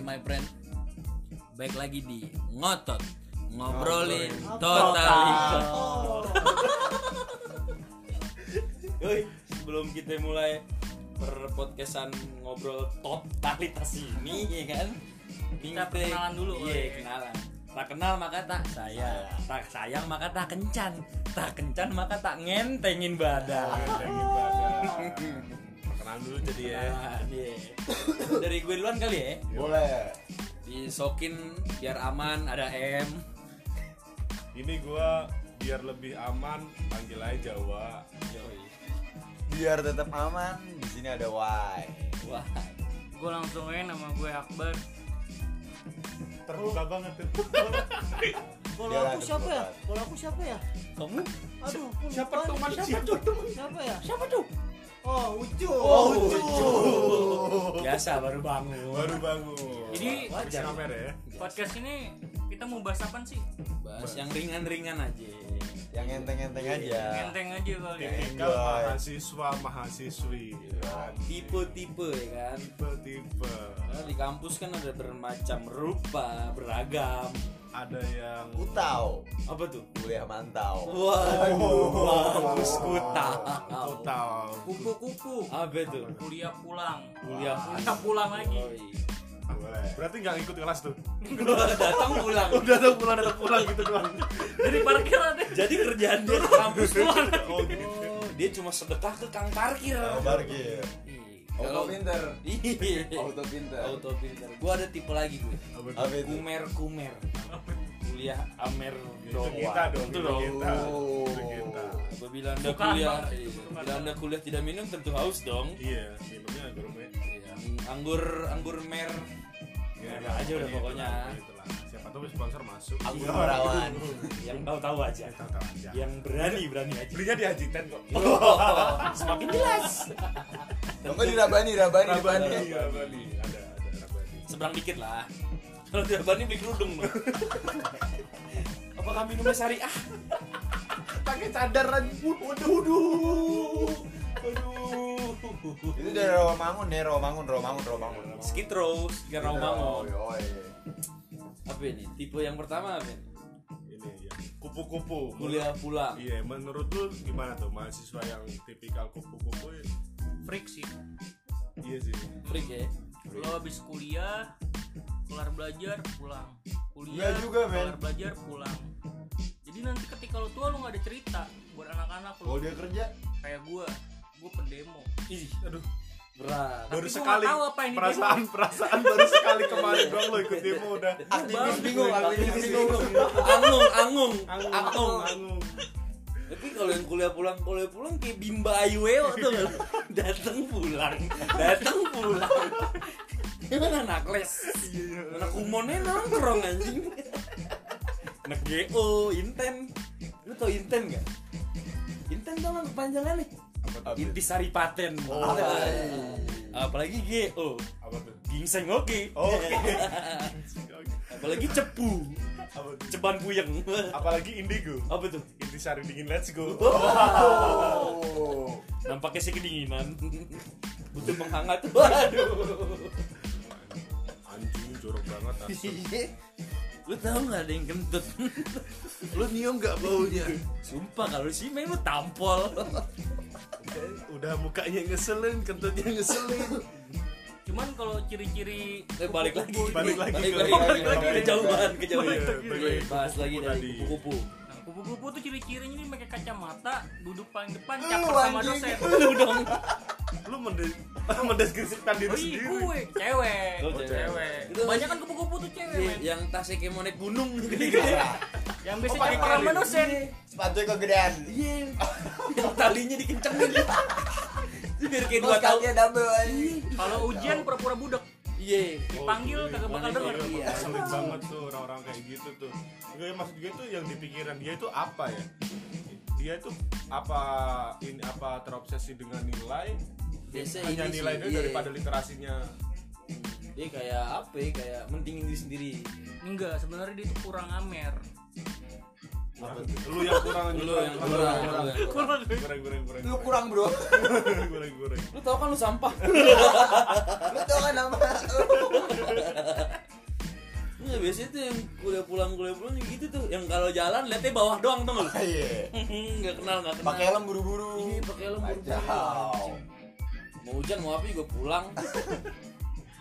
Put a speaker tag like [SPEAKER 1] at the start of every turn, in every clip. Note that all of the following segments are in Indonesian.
[SPEAKER 1] my friend Baik lagi di Ngotot Ngobrolin Total
[SPEAKER 2] Yoi, sebelum kita mulai berpodcastan ngobrol totalitas ini ya kan
[SPEAKER 1] Kita perkenalan dulu, Ah.
[SPEAKER 2] iya
[SPEAKER 1] woy.
[SPEAKER 2] kenalan tak kenal maka tak sayang tak sayang maka tak kencan tak kencan maka tak ngentengin badan
[SPEAKER 3] Perkenalan dulu jadi ya.
[SPEAKER 1] Ah.
[SPEAKER 2] Nah, iya. dari gue duluan kali ya
[SPEAKER 4] Boleh.
[SPEAKER 2] disokin biar aman ada M
[SPEAKER 3] Ini gua biar lebih aman panggil aja Jawa.
[SPEAKER 2] Yoi.
[SPEAKER 4] Biar tetap aman, di sini ada Y.
[SPEAKER 2] wah
[SPEAKER 5] gue langsung aja nama gue Akbar
[SPEAKER 3] Terbuka banget tuh.
[SPEAKER 6] Kalau
[SPEAKER 4] Dia
[SPEAKER 6] aku
[SPEAKER 4] ada
[SPEAKER 6] siapa ya?
[SPEAKER 4] kekuatan.
[SPEAKER 6] Kalau aku siapa ya?
[SPEAKER 2] kamu
[SPEAKER 6] Aduh, aku
[SPEAKER 2] siapa
[SPEAKER 6] lupa
[SPEAKER 2] tuh
[SPEAKER 6] nih.
[SPEAKER 2] Mas? siapa tuh teman
[SPEAKER 6] Siapa ya?
[SPEAKER 2] siapa tuh
[SPEAKER 6] Oh, Ucu. Oh,
[SPEAKER 2] biasa baru bangun
[SPEAKER 3] Baru bangun.
[SPEAKER 5] Jadi-
[SPEAKER 3] wajar Sampai ya.
[SPEAKER 5] podcast ini kita mau bahas apa sih
[SPEAKER 2] bahas yang ringan-ringan aja
[SPEAKER 4] Yang enteng-enteng aja.
[SPEAKER 5] enteng aja kali ya
[SPEAKER 3] Tipikal
[SPEAKER 4] Enjoy.
[SPEAKER 3] mahasiswa mahasiswi.
[SPEAKER 2] tipe-tipe ya kan
[SPEAKER 3] Tipe-tipe.
[SPEAKER 2] Karena di kampus kan ada bermacam rupa beragam
[SPEAKER 3] Ada yang
[SPEAKER 4] Utau,
[SPEAKER 2] apa tuh
[SPEAKER 4] kuliah mantau.
[SPEAKER 2] waduh kampus kuta
[SPEAKER 3] total.
[SPEAKER 5] kupu-kupu
[SPEAKER 2] apa tuh
[SPEAKER 5] kuliah pulang
[SPEAKER 2] kuliah
[SPEAKER 5] kita pulang lagi
[SPEAKER 2] Yoi.
[SPEAKER 4] Boleh.
[SPEAKER 3] Berarti nggak ikut kelas tuh.
[SPEAKER 2] Gua datang pulang
[SPEAKER 3] Udah tuh pulang datang pulang gitu doang.
[SPEAKER 5] dari parkir ada
[SPEAKER 2] jadi kerjaan dia di kampus doang
[SPEAKER 3] Oh, gitu. Oh.
[SPEAKER 2] Oh, dia cuma sedekah ke kang parkir
[SPEAKER 4] Parkir.
[SPEAKER 2] Ih,
[SPEAKER 4] Auto
[SPEAKER 2] kalau
[SPEAKER 4] pinter.
[SPEAKER 2] Ih,
[SPEAKER 4] Auto pinter.
[SPEAKER 2] auto pinter gua ada tipe lagi gue
[SPEAKER 4] Apa itu?
[SPEAKER 2] kumer kumer kuliah amer
[SPEAKER 3] Itu
[SPEAKER 2] doang
[SPEAKER 3] kita dong.
[SPEAKER 2] Itu
[SPEAKER 3] Itu
[SPEAKER 2] dong.
[SPEAKER 3] kita.
[SPEAKER 4] Oh.
[SPEAKER 3] Itu kita.
[SPEAKER 2] Gua bilang anda
[SPEAKER 5] Sukaan
[SPEAKER 2] kuliah
[SPEAKER 5] banget.
[SPEAKER 2] iya,
[SPEAKER 5] Sukaan
[SPEAKER 2] bila anda kuliah tidak minum tentu haus dong
[SPEAKER 3] Iya, minumnya gurme.
[SPEAKER 2] Iya, anggur anggur mer Enak aja udah pokoknya.
[SPEAKER 3] Itulah. gitu Siapa tahu sponsor masuk.
[SPEAKER 2] Anggur
[SPEAKER 3] Iya.
[SPEAKER 4] Perawan.
[SPEAKER 2] yang tahu tahu aja Iya.
[SPEAKER 3] Tahu tahu aja.
[SPEAKER 2] yang berani berani aja
[SPEAKER 3] Belinya di Hajitan kok. Iya,
[SPEAKER 2] semakin jelas
[SPEAKER 4] Apa di Rabani, Rabani, Rabani.
[SPEAKER 3] Rabani, Rabani. iya, Ada ada Rabani.
[SPEAKER 2] seberang dikit lah kalau tidak berani beli kerudung loh apakah minumnya Ah, syariah
[SPEAKER 3] Pakai cadar lagi. Waduh, waduh.
[SPEAKER 2] aduh
[SPEAKER 4] Itu dari Rawamangun nih, Rawamangun, Rawamangun, Rawamangun. Iya,
[SPEAKER 2] skid row skid
[SPEAKER 3] Iya,
[SPEAKER 2] row
[SPEAKER 3] oh,
[SPEAKER 4] Rawamangun.
[SPEAKER 2] mangon apa ini tipe yang pertama apa ini?
[SPEAKER 3] Ini ya. Kupu-kupu.
[SPEAKER 2] kuliah pulang
[SPEAKER 3] Iya, menurut lu gimana tuh mahasiswa yang tipikal kupu-kupu? ya?
[SPEAKER 5] freak sih
[SPEAKER 3] Iya sih.
[SPEAKER 2] freak ya
[SPEAKER 5] lo habis kuliah kelar belajar pulang kuliah
[SPEAKER 4] Iya juga, men.
[SPEAKER 5] kelar belajar pulang jadi nanti ketika lo tua lo nggak ada cerita buat anak-anak
[SPEAKER 4] Kalau
[SPEAKER 5] lo
[SPEAKER 4] dia kerja,
[SPEAKER 5] kayak gue gue pendemo
[SPEAKER 2] ih
[SPEAKER 3] Aduh,
[SPEAKER 2] berat
[SPEAKER 3] baru
[SPEAKER 5] gua
[SPEAKER 3] sekali
[SPEAKER 5] nggak tahu apa ini
[SPEAKER 3] perasaan perasaan baru sekali kemarin doang lo ikut demo udah.
[SPEAKER 2] Ah,
[SPEAKER 4] aktivis bingung, aktivis bingung.
[SPEAKER 2] angung angung
[SPEAKER 3] Angung,
[SPEAKER 2] angung
[SPEAKER 3] angung.
[SPEAKER 2] tapi kalau yang kuliah pulang kuliah pulang kayak bimba ayu weo tuh kan datang pulang datang pulang gimana anak les
[SPEAKER 3] Iya.
[SPEAKER 2] anak kumonnya nongkrong anjing anak geo inten lu tau inten gak inten tau kan kepanjangannya
[SPEAKER 3] Apa tuh?
[SPEAKER 2] inti sari paten
[SPEAKER 3] Oh.
[SPEAKER 2] apalagi geo
[SPEAKER 3] Apa tuh?
[SPEAKER 2] gingseng oke
[SPEAKER 3] Oke.
[SPEAKER 2] apalagi cepu
[SPEAKER 3] Apa tuh?
[SPEAKER 2] ceban puyeng
[SPEAKER 3] Apalagi indigo.
[SPEAKER 2] apa tuh
[SPEAKER 3] Intisari dingin let's go.
[SPEAKER 4] Oh.
[SPEAKER 2] Nampaknya sih kedinginan. Butuh penghangat. Waduh.
[SPEAKER 3] Anjing jorok banget asli.
[SPEAKER 2] Iya. lu tau gak ada yang kentut
[SPEAKER 4] Lu nyium gak baunya?
[SPEAKER 2] Sumpah kalau sih main lu tampol
[SPEAKER 3] Udah mukanya ngeselin, kentutnya ngeselin.
[SPEAKER 5] cuman kalau ciri-ciri
[SPEAKER 2] Eh, balik lagi
[SPEAKER 5] kupu-kupu
[SPEAKER 3] Balik
[SPEAKER 5] ini-
[SPEAKER 3] lagi
[SPEAKER 2] Balik
[SPEAKER 3] ke-
[SPEAKER 2] lagi
[SPEAKER 4] balik lagi.
[SPEAKER 2] Kejauhan Kejauhan
[SPEAKER 3] Balik lagi.
[SPEAKER 2] Iya, Bahas lagi
[SPEAKER 3] Kupu-kupu
[SPEAKER 2] dari
[SPEAKER 3] tadi.
[SPEAKER 2] kupu-kupu
[SPEAKER 5] Nah, kupu-kupu tuh ciri-cirinya ini pakai kacamata, duduk paling depan,
[SPEAKER 4] Lu,
[SPEAKER 5] cakep sama
[SPEAKER 4] anjing.
[SPEAKER 5] dosen.
[SPEAKER 2] Lu dong
[SPEAKER 3] Lu mende- mendeskripsikan diri
[SPEAKER 5] Wih,
[SPEAKER 3] sendiri. Gitu.
[SPEAKER 5] gue cewek.
[SPEAKER 2] Oh,
[SPEAKER 5] Gue
[SPEAKER 2] cewek.
[SPEAKER 5] cewek.
[SPEAKER 2] Itu-
[SPEAKER 5] Banyak kan kupu-kupu tuh cewek,
[SPEAKER 2] Iya,
[SPEAKER 5] men.
[SPEAKER 2] Yang tasnya kayak monek gunung gitu. Iya. Gede-gede
[SPEAKER 5] Yang biasa
[SPEAKER 3] pakai
[SPEAKER 5] cakep sama
[SPEAKER 3] karet.
[SPEAKER 5] dosen.
[SPEAKER 4] Sepatunya kegedean.
[SPEAKER 2] Iya Yang talinya dikencengin Biar kayak dua
[SPEAKER 4] Terus
[SPEAKER 2] tahun
[SPEAKER 4] kakinya double aja.
[SPEAKER 5] Kalau
[SPEAKER 3] Iya.
[SPEAKER 5] ujian pura-pura budak,
[SPEAKER 2] Iya
[SPEAKER 5] dipanggil kagak bakal denger.
[SPEAKER 3] Iya,
[SPEAKER 2] Iya.
[SPEAKER 3] Ngeselin banget tuh orang-orang kayak gitu tuh. Gue maksud gue tuh yang di pikiran dia itu apa ya? Dia tuh apa ini apa terobsesi dengan nilai?
[SPEAKER 2] Biasa
[SPEAKER 3] Hanya
[SPEAKER 2] ini sih,
[SPEAKER 3] nilai itu
[SPEAKER 2] iya.
[SPEAKER 3] daripada literasinya.
[SPEAKER 2] Dia kayak apa ya Kayak mentingin diri sendiri
[SPEAKER 5] Enggak, sebenarnya dia tuh kurang amer.
[SPEAKER 2] Apa
[SPEAKER 3] Nah, Lu yang kurang
[SPEAKER 2] Lu yang kurang,
[SPEAKER 3] kurang
[SPEAKER 2] lu yang kurang.
[SPEAKER 3] kurang kurang kurang kurang.
[SPEAKER 4] Lu kurang bro.
[SPEAKER 3] kurang kurang.
[SPEAKER 2] Lu tau kan lu sampah
[SPEAKER 4] Lu tau kan nama lu.
[SPEAKER 2] Iya, biasanya tuh yang kuliah pulang kuliah pulang gitu tuh yang kalau jalan liatnya bawah doang tuh nggak lu?
[SPEAKER 4] Iya.
[SPEAKER 2] nggak kenal nggak kenal
[SPEAKER 4] Pakai helm buru-buru.
[SPEAKER 2] Iya, pakai helm buru-buru.
[SPEAKER 4] Kacau.
[SPEAKER 2] mau hujan mau apa juga pulang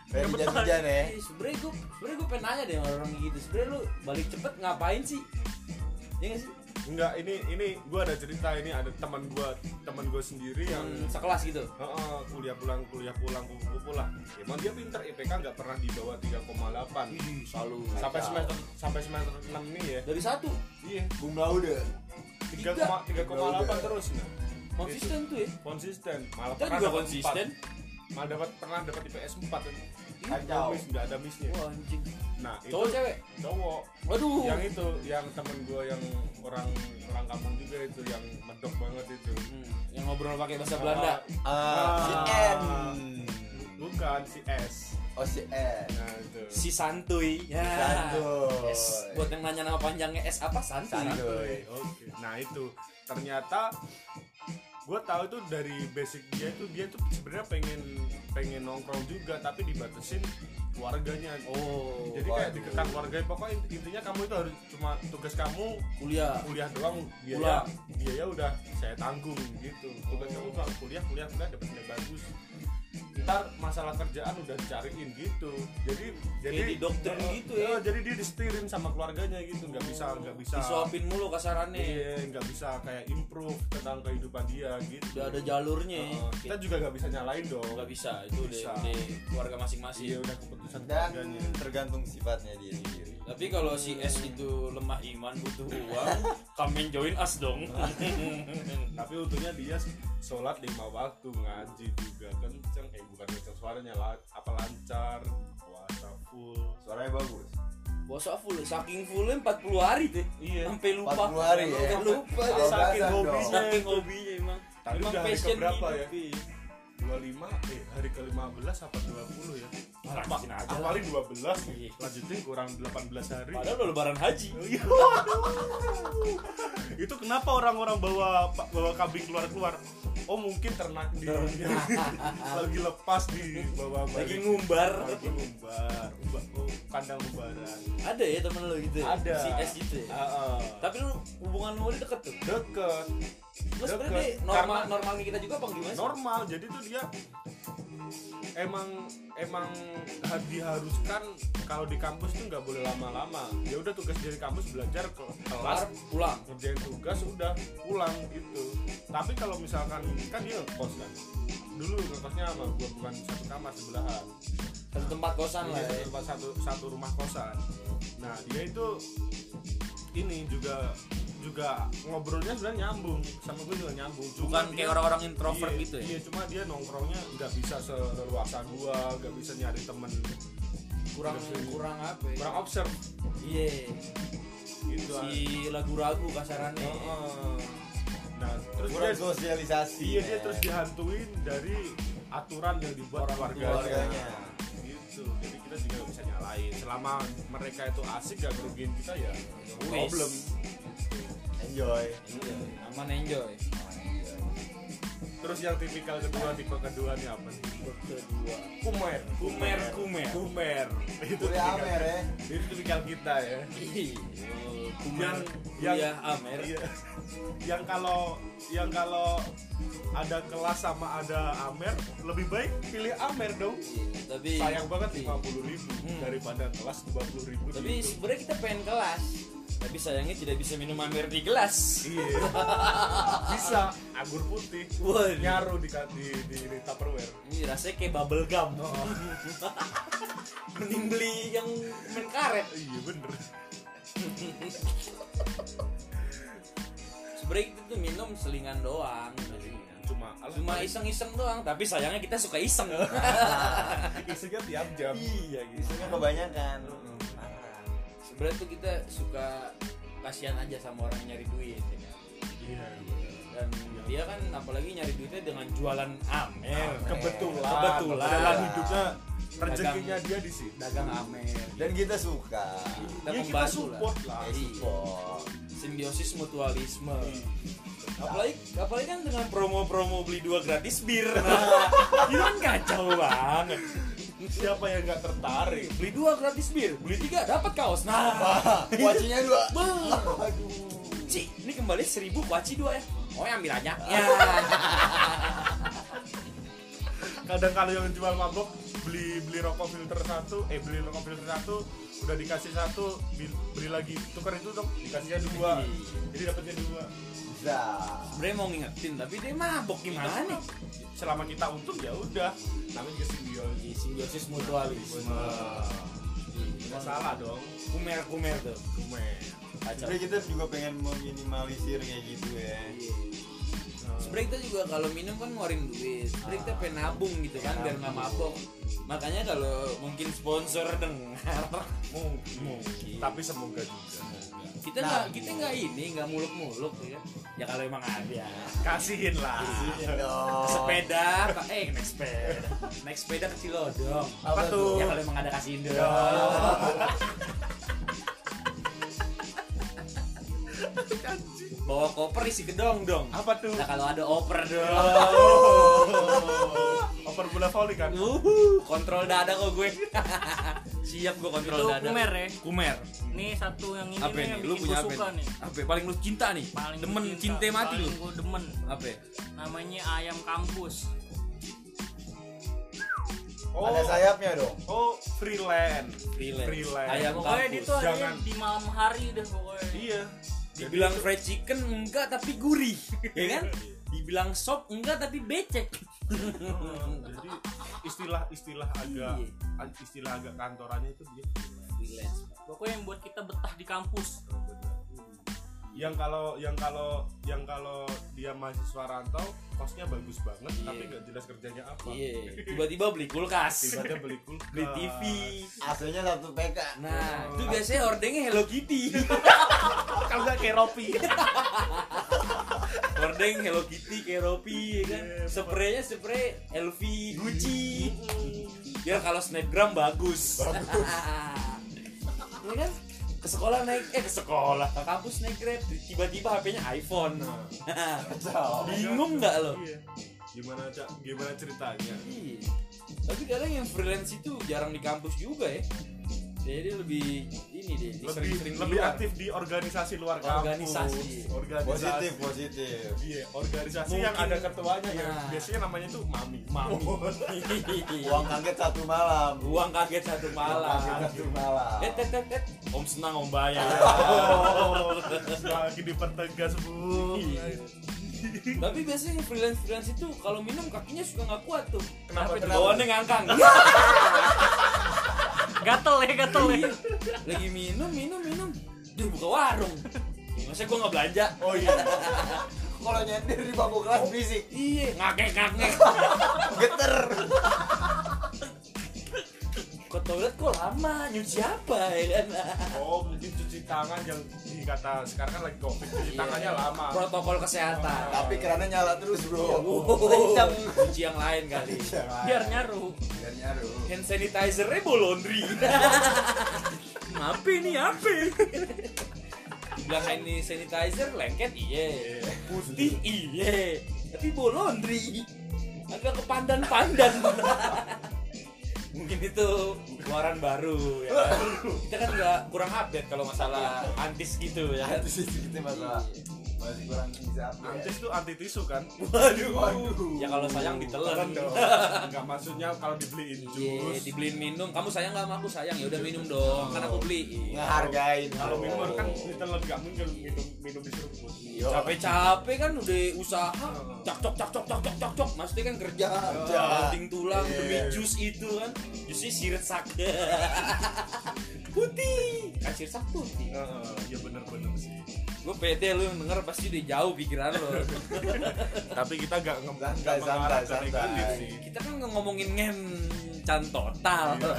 [SPEAKER 4] Kayak hujan-hujan ya.
[SPEAKER 2] Eh, sebenernya gue sebenernya gue pengen nanya deh sama orang gitu sebenernya lu balik cepet ngapain sih ya nggak sih
[SPEAKER 3] Enggak, ini ini gue ada cerita ini ada teman gue teman gue sendiri yang
[SPEAKER 2] yang sekelas gitu
[SPEAKER 3] Heeh, kuliah pulang kuliah pulang kupu pulang. Emang dia pinter IPK nggak pernah di bawah 3,8
[SPEAKER 2] selalu
[SPEAKER 3] sampai semester sampai semester 6 ini ya.
[SPEAKER 2] dari satu
[SPEAKER 3] Iya,
[SPEAKER 4] Bunga udah.
[SPEAKER 3] 3,8 terus nah.
[SPEAKER 2] konsisten tuh ya
[SPEAKER 3] Konsisten. Malah
[SPEAKER 2] kita
[SPEAKER 3] pernah
[SPEAKER 2] juga
[SPEAKER 3] dapat
[SPEAKER 2] konsisten Iya.
[SPEAKER 3] 4. Malah dapat pernah dapat IPS 4 kan.
[SPEAKER 4] Kacau.
[SPEAKER 3] miss, nggak ada missnya.
[SPEAKER 2] wah anjing
[SPEAKER 3] Nah, itu
[SPEAKER 2] cowok Uh. cewek
[SPEAKER 3] cowok.
[SPEAKER 2] waduh
[SPEAKER 3] Yang itu yang temen gue yang orang orang kampung juga itu yang medok banget itu.
[SPEAKER 2] Hmm, yang ngobrol pakai bahasa
[SPEAKER 3] Oh.
[SPEAKER 2] Belanda Hmm.
[SPEAKER 4] Ah, si N.
[SPEAKER 3] Bukan si S.
[SPEAKER 4] Oh si N.
[SPEAKER 3] Nah, itu.
[SPEAKER 2] si santuy ya
[SPEAKER 4] Santuy.
[SPEAKER 2] S buat yang nanya nama panjangnya S apa santuy
[SPEAKER 4] Santuy.
[SPEAKER 3] Oke. Nah itu ternyata gue tahu itu dari basic dia itu dia tuh sebenarnya pengen pengen nongkrong juga tapi dibatasin keluarganya.
[SPEAKER 2] oh
[SPEAKER 3] Jadi kayak
[SPEAKER 4] waduh.
[SPEAKER 3] dikekang keluarga pokoknya int- intinya kamu itu harus cuma tugas kamu
[SPEAKER 2] kuliah
[SPEAKER 3] kuliah doang
[SPEAKER 2] Iya,
[SPEAKER 3] biaya biaya udah saya tanggung gitu tugas kamu cuma kuliah kuliah kuliah dapat nilai bagus ntar masalah kerjaan udah dicariin gitu jadi jadi
[SPEAKER 2] di dokter
[SPEAKER 3] Eh,
[SPEAKER 2] gitu ya. Oh,
[SPEAKER 3] eh, jadi dia disetirin sama keluarganya gitu nggak bisa nggak bisa
[SPEAKER 2] disuapin mulu kasarannya
[SPEAKER 3] Iya, nggak bisa kayak improve tentang kehidupan dia gitu.
[SPEAKER 2] udah ada jalurnya
[SPEAKER 3] Heeh, Nah, kita juga nggak bisa nyalain dong.
[SPEAKER 2] nggak bisa itu
[SPEAKER 3] Bisa.
[SPEAKER 2] udah udah keluarga
[SPEAKER 3] Iya,
[SPEAKER 2] masing-masing
[SPEAKER 3] udah keputusan
[SPEAKER 4] Dan
[SPEAKER 3] keluarganya.
[SPEAKER 4] tergantung sifatnya dia sendiri.
[SPEAKER 2] tapi kalau si S itu lemah iman butuh uang kamen join us dong
[SPEAKER 3] Tapi untungnya dia sholat lima waktu, ngaji juga kenceng. Eh bukan kenceng suaranya lah, apa lancar, puasa full.
[SPEAKER 4] Suaranya bagus.
[SPEAKER 2] puasa full saking fullnya 40 hari tuh
[SPEAKER 3] Iya.
[SPEAKER 2] sampai lupa
[SPEAKER 4] 40 hari ya.
[SPEAKER 2] Sampai lupa
[SPEAKER 4] Kalau
[SPEAKER 2] deh.
[SPEAKER 4] nggak
[SPEAKER 3] Saking
[SPEAKER 4] salah
[SPEAKER 3] hobinya.
[SPEAKER 4] dong.
[SPEAKER 2] saking hobinya emang
[SPEAKER 3] Tadi
[SPEAKER 2] emang
[SPEAKER 3] udah hari
[SPEAKER 2] passion
[SPEAKER 3] keberapa
[SPEAKER 2] hidup,
[SPEAKER 3] ya?
[SPEAKER 2] iya.
[SPEAKER 3] 25 eh hari ke 15 apa 20 ya?
[SPEAKER 2] Lanjutin aja.
[SPEAKER 3] Awalnya 12,
[SPEAKER 2] Iya.
[SPEAKER 3] lanjutin kurang 18 hari.
[SPEAKER 2] padahal udah lebaran haji
[SPEAKER 3] Oh, iya. itu kenapa orang-orang bawa bawa kambing keluar-keluar oh mungkin ternak di lagi lepas di bawa
[SPEAKER 2] lagi
[SPEAKER 3] balik.
[SPEAKER 2] ngumbar
[SPEAKER 3] lagi ngumbar Umba- oh, kandang umbaran
[SPEAKER 2] ada ya temen lo gitu ya?
[SPEAKER 3] Ada.
[SPEAKER 2] si S gitu ya? tapi lu hubungan lu dia deket tuh
[SPEAKER 3] deket
[SPEAKER 2] lu sebenernya
[SPEAKER 3] Deket.
[SPEAKER 2] dia normal
[SPEAKER 3] Karena-
[SPEAKER 2] normalnya kita juga apa gimana sih?
[SPEAKER 3] normal jadi tuh dia emang emang ha- diharuskan kalau di kampus tuh nggak boleh lama-lama ya udah tugas dari kampus belajar ke
[SPEAKER 2] kelar
[SPEAKER 3] kelas
[SPEAKER 2] pulang
[SPEAKER 3] ngerjain tugas udah pulang gitu tapi kalau misalkan kan dia ngekos kan dulu ngekosnya sama gua bukan satu kamar sebelahan
[SPEAKER 2] satu tempat kosan lah
[SPEAKER 3] Iya,
[SPEAKER 2] ya
[SPEAKER 3] tempat satu satu rumah kosan nah dia itu ini juga juga ngobrolnya sebenarnya nyambung sama gue juga nyambung
[SPEAKER 1] Bukan
[SPEAKER 3] dia-
[SPEAKER 1] kayak orang-orang introvert
[SPEAKER 3] iya,
[SPEAKER 1] gitu ya?
[SPEAKER 3] iya cuma dia nongkrongnya nggak bisa seluasa gua nggak bisa nyari temen
[SPEAKER 2] kurang kurang apa ya?
[SPEAKER 3] kurang observe
[SPEAKER 2] iya
[SPEAKER 3] gitu
[SPEAKER 2] si lagu-lagu kasarannya
[SPEAKER 3] Heeh. nah terus
[SPEAKER 4] Kurang
[SPEAKER 3] dia
[SPEAKER 4] sosialisasi.
[SPEAKER 3] Iya dia
[SPEAKER 4] ya.
[SPEAKER 3] terus dihantuin dari aturan yang dibuat
[SPEAKER 4] keluarganya.
[SPEAKER 3] keluarganya. Gitu. Jadi kita juga nggak bisa nyalain. Selama mereka itu asik gak ngerugiin kita ya. no
[SPEAKER 2] Wis.
[SPEAKER 3] Problem.
[SPEAKER 4] Enjoy.
[SPEAKER 2] Iya. aman enjoy Iya.
[SPEAKER 3] Terus yang tipikal kedua tipe kedua nih apa nih?
[SPEAKER 2] kedua
[SPEAKER 3] Kumer.
[SPEAKER 2] kumer kumer
[SPEAKER 3] Kumer. Itu
[SPEAKER 4] Boleh
[SPEAKER 3] tipikal-
[SPEAKER 4] amer ya.
[SPEAKER 3] Itu tipikal kita ya.
[SPEAKER 2] Ih, kumer
[SPEAKER 3] Yang- yang-
[SPEAKER 2] kuliah amer
[SPEAKER 3] Iya. yang kalau yang kalau ada kelas sama ada amer lebih baik pilih amer dong.
[SPEAKER 2] tapi
[SPEAKER 3] sayang banget
[SPEAKER 2] iya.
[SPEAKER 3] 50 ribu daripada kelas 20 ribu
[SPEAKER 2] tapi sebenarnya kita pengen kelas tapi sayangnya tidak bisa minum amer di gelas
[SPEAKER 3] iya bisa anggur putih
[SPEAKER 2] Waduh.
[SPEAKER 3] nyaru di di di, di tupperware
[SPEAKER 2] ini rasanya kayak bubble gum
[SPEAKER 3] Oh.
[SPEAKER 2] mending beli yang main karet
[SPEAKER 3] iya bener
[SPEAKER 2] sebenarnya itu tuh minum selingan doang
[SPEAKER 3] cuma
[SPEAKER 2] cuma
[SPEAKER 3] alah,
[SPEAKER 2] iseng-iseng doang tapi sayangnya kita suka iseng
[SPEAKER 3] isinya tiap jam
[SPEAKER 2] iya gitu
[SPEAKER 4] Isinya kebanyakan. Hmm.
[SPEAKER 2] sebenarnya tuh kita suka kasihan aja sama orang yang nyari duit ya kan?
[SPEAKER 3] iya
[SPEAKER 2] dan dia kan apalagi nyari duitnya dengan jualan amer
[SPEAKER 3] Eh, kebetulan
[SPEAKER 2] Kebetulan.
[SPEAKER 3] kebetulan hidupnya rezekinya dia di sini
[SPEAKER 2] dagang amer
[SPEAKER 4] Dan kita suka.
[SPEAKER 2] kita
[SPEAKER 3] ya kita
[SPEAKER 2] membantu
[SPEAKER 3] support lah
[SPEAKER 4] Eh,
[SPEAKER 2] Iya.
[SPEAKER 4] support.
[SPEAKER 2] simbiosis mutualisme apalagi apalagi kan dengan promo-promo beli dua gratis bir nah, itu kan kacau banget
[SPEAKER 3] siapa yang nggak tertarik
[SPEAKER 2] Beli dua gratis bir, beli tiga dapat kaos. Nah,
[SPEAKER 4] Kuacinya dua.
[SPEAKER 2] beuh.
[SPEAKER 4] Aduh.
[SPEAKER 2] Ci, ini kembali seribu kuaci dua ya. Oh, yang ambil aja. Ya.
[SPEAKER 3] kadang kalau yang jual mabok beli beli rokok filter satu eh beli rokok filter satu udah dikasih satu bi- beli lagi tukar itu dong dikasihnya dua jadi dapatnya dua
[SPEAKER 4] Bisa. Nah,
[SPEAKER 2] Sebenernya mau ngingetin, tapi dia mabok gimana nih?
[SPEAKER 3] selama kita untung ya udah namanya juga simbiosis
[SPEAKER 2] Simbiosis mutualisme.
[SPEAKER 3] nggak salah dong
[SPEAKER 2] Kumer kumer tuh.
[SPEAKER 3] men
[SPEAKER 2] Kacau.
[SPEAKER 4] Sebenarnya kita juga pengen meminimalisir kayak gitu ya.
[SPEAKER 2] Iya. Sebenernya kita juga kalau minum kan ngeluarin duit. Sebenernya kita pengen nabung gitu kan biar nggak mabok. Makanya kalau mungkin sponsor dengar,
[SPEAKER 3] mungkin tapi semoga juga
[SPEAKER 2] kita
[SPEAKER 5] Nah.
[SPEAKER 2] nggak kita nggak ini nggak muluk-muluk ya. Ya kalau emang ada.
[SPEAKER 5] Oh.
[SPEAKER 3] kasihin lah
[SPEAKER 4] Iya
[SPEAKER 3] Iya.
[SPEAKER 2] Sepeda, Pak. eh naik sepeda. Naik sepeda ke Cilodong.
[SPEAKER 3] apa tuh
[SPEAKER 2] Ya kalau emang ada kasih Indo. Bawa koper isi gedong dong.
[SPEAKER 3] apa tuh
[SPEAKER 2] Nah kalau ada oper dong.
[SPEAKER 3] over bola volley kan
[SPEAKER 2] Wuhu, Uhuh, kontrol dada kok gue. Siap gue kontrol
[SPEAKER 5] Itu
[SPEAKER 2] dada.
[SPEAKER 5] kumer ya?
[SPEAKER 2] Kumer.
[SPEAKER 5] Nih satu yang ini
[SPEAKER 1] Apa
[SPEAKER 5] nih,
[SPEAKER 1] nih?
[SPEAKER 5] yang
[SPEAKER 1] Lu
[SPEAKER 5] bikin
[SPEAKER 1] punya
[SPEAKER 5] gua
[SPEAKER 1] apa
[SPEAKER 5] suka
[SPEAKER 1] nih?
[SPEAKER 5] nih.
[SPEAKER 1] Apa? Paling lu cinta nih.
[SPEAKER 5] Paling gua
[SPEAKER 1] Demen cinta mati lu.
[SPEAKER 5] paling gua demen.
[SPEAKER 1] Apa?
[SPEAKER 5] Namanya ayam kampus.
[SPEAKER 3] oh
[SPEAKER 4] Ada sayapnya dong.
[SPEAKER 3] oh freelance
[SPEAKER 2] Freelance.
[SPEAKER 3] Freelance.
[SPEAKER 2] Ayam
[SPEAKER 5] Pokoknya dia
[SPEAKER 2] kampus.
[SPEAKER 5] tuh ada
[SPEAKER 3] jangan.
[SPEAKER 5] di malam hari deh pokoknya.
[SPEAKER 3] iya
[SPEAKER 2] Dibilang fried chicken enggak tapi gurih, ya kan? Dibilang sop enggak tapi becek.
[SPEAKER 3] jadi istilah istilah
[SPEAKER 5] Iya.
[SPEAKER 3] agak
[SPEAKER 2] Iya.
[SPEAKER 3] istilah agak kantorannya itu dia
[SPEAKER 2] Freelance.
[SPEAKER 5] Pokoknya yang buat kita betah di kampus.
[SPEAKER 3] yang kalau yang kalau yang kalau dia mahasiswa rantau kosnya bagus banget tapi nggak jelas kerjanya apa
[SPEAKER 2] Iya, tiba-tiba beli kulkas,
[SPEAKER 3] tiba-tiba beli kulkas
[SPEAKER 2] beli TV.
[SPEAKER 4] Aslinya satu PK.
[SPEAKER 2] Nah,
[SPEAKER 5] Oh.
[SPEAKER 2] itu biasanya ordengnya Hello Kitty.
[SPEAKER 3] kalau nggak kayak Ropi
[SPEAKER 2] Ordeng Hello Kitty, Keropi, ya kan?
[SPEAKER 5] Iya,
[SPEAKER 2] Spraynya spray LV, Gucci. Biar kalau snapgram bagus. ya kan? Ke sekolah naik, eh ke sekolah, ke kampus naik grab, tiba-tiba HP-nya iPhone. Bingung nggak lo?
[SPEAKER 3] Iya. gimana cak gimana ceritanya
[SPEAKER 2] Iya. Tapi kadang yang freelance itu jarang di kampus juga ya. Jadi lebih ini deh,
[SPEAKER 3] lebih
[SPEAKER 2] sering-sering di
[SPEAKER 3] lebih
[SPEAKER 2] luar.
[SPEAKER 3] aktif di organisasi luar
[SPEAKER 2] Organisasi.
[SPEAKER 3] kampus organisasi
[SPEAKER 4] Positif, positif.
[SPEAKER 3] Iya, organisasi
[SPEAKER 2] Mungkin-
[SPEAKER 3] yang ada ketuanya ya
[SPEAKER 2] Nah.
[SPEAKER 3] biasanya namanya tuh mami. Oh.
[SPEAKER 2] Mami.
[SPEAKER 4] Uang kaget satu malam.
[SPEAKER 2] Uang kaget satu malam.
[SPEAKER 4] Kaget satu malam.
[SPEAKER 2] Eh, eh, eh, eh. Om senang om bayar.
[SPEAKER 3] Oh, lagi dipertegas bu.
[SPEAKER 2] Iya. Tapi biasanya freelance freelance itu kalau minum kakinya suka nggak kuat tuh.
[SPEAKER 3] Kenapa
[SPEAKER 2] Sampai
[SPEAKER 3] tuh?
[SPEAKER 2] Bawaannya ngangkang.
[SPEAKER 5] Gatel ya, gatel ya.
[SPEAKER 2] Iya. Lagi minum minum minum. Dia buka warung. Masa gua nggak belanja?
[SPEAKER 3] Oh iya,
[SPEAKER 4] Kalau nyendir di bangku kelas fisik,
[SPEAKER 2] Iya. Ngakek ngakek.
[SPEAKER 4] geter.
[SPEAKER 2] Ke toilet kok lama nyuci apa ya kan?
[SPEAKER 3] oh mungkin cuci tangan yang dikata sekarang kan lagi covid cuci
[SPEAKER 2] Iya.
[SPEAKER 3] tangannya lama.
[SPEAKER 2] Protokol kesehatan.
[SPEAKER 4] Tapi kerannya nyala terus, Bro.
[SPEAKER 2] Kencang. Cuci yang lain kali.
[SPEAKER 3] Iya.
[SPEAKER 5] Biar nyaru.
[SPEAKER 4] Biar nyaru.
[SPEAKER 2] Hand sanitizer-nya bau laundry.
[SPEAKER 5] Ngapain nih, apa?
[SPEAKER 2] Bilang hand sanitizer lengket iya. Putih iya. Tapi bau laundry. Agak kepandan-pandan. Mungkin itu keluaran baru ya. kan? Kita kan nggak kurang update kalau masalah antis gitu ya.
[SPEAKER 4] Itu sih Iya, kita masalah. Iya. Masih kurang bisa update.
[SPEAKER 3] Antis tuh anti tisu kan?
[SPEAKER 4] Waduh.
[SPEAKER 2] Ya kalau sayang ditelan.
[SPEAKER 3] Enggak maksudnya kalau dibeliin
[SPEAKER 2] Iya,
[SPEAKER 3] jus.
[SPEAKER 2] dibeliin minum. Kamu sayang nggak sama aku? Sayang. Ya udah minum dong. Kan aku beli.
[SPEAKER 4] Ngehargain. Oh.
[SPEAKER 3] Kalau minum kan ditelan nggak mungkin minum minum diseruput.
[SPEAKER 2] Iya. capek-capek kan udah usaha cak cok cak cok cok cok cok cok maksudnya kan kerja
[SPEAKER 4] Kerja.
[SPEAKER 2] penting tulang
[SPEAKER 4] Iya.
[SPEAKER 2] demi jus itu kan jusnya siret sak putih kan siret sak putih
[SPEAKER 3] Heeh, Iya bener-bener sih.
[SPEAKER 2] gue pede lu yang denger pasti udah jauh pikiran lo
[SPEAKER 3] Tapi kita nggak nge- nggak
[SPEAKER 4] Santai,
[SPEAKER 3] mengarah
[SPEAKER 4] santai,
[SPEAKER 3] ke negatif
[SPEAKER 4] santai.
[SPEAKER 3] sih.
[SPEAKER 2] kita kan nggak ngomongin ngen can total
[SPEAKER 3] Iya.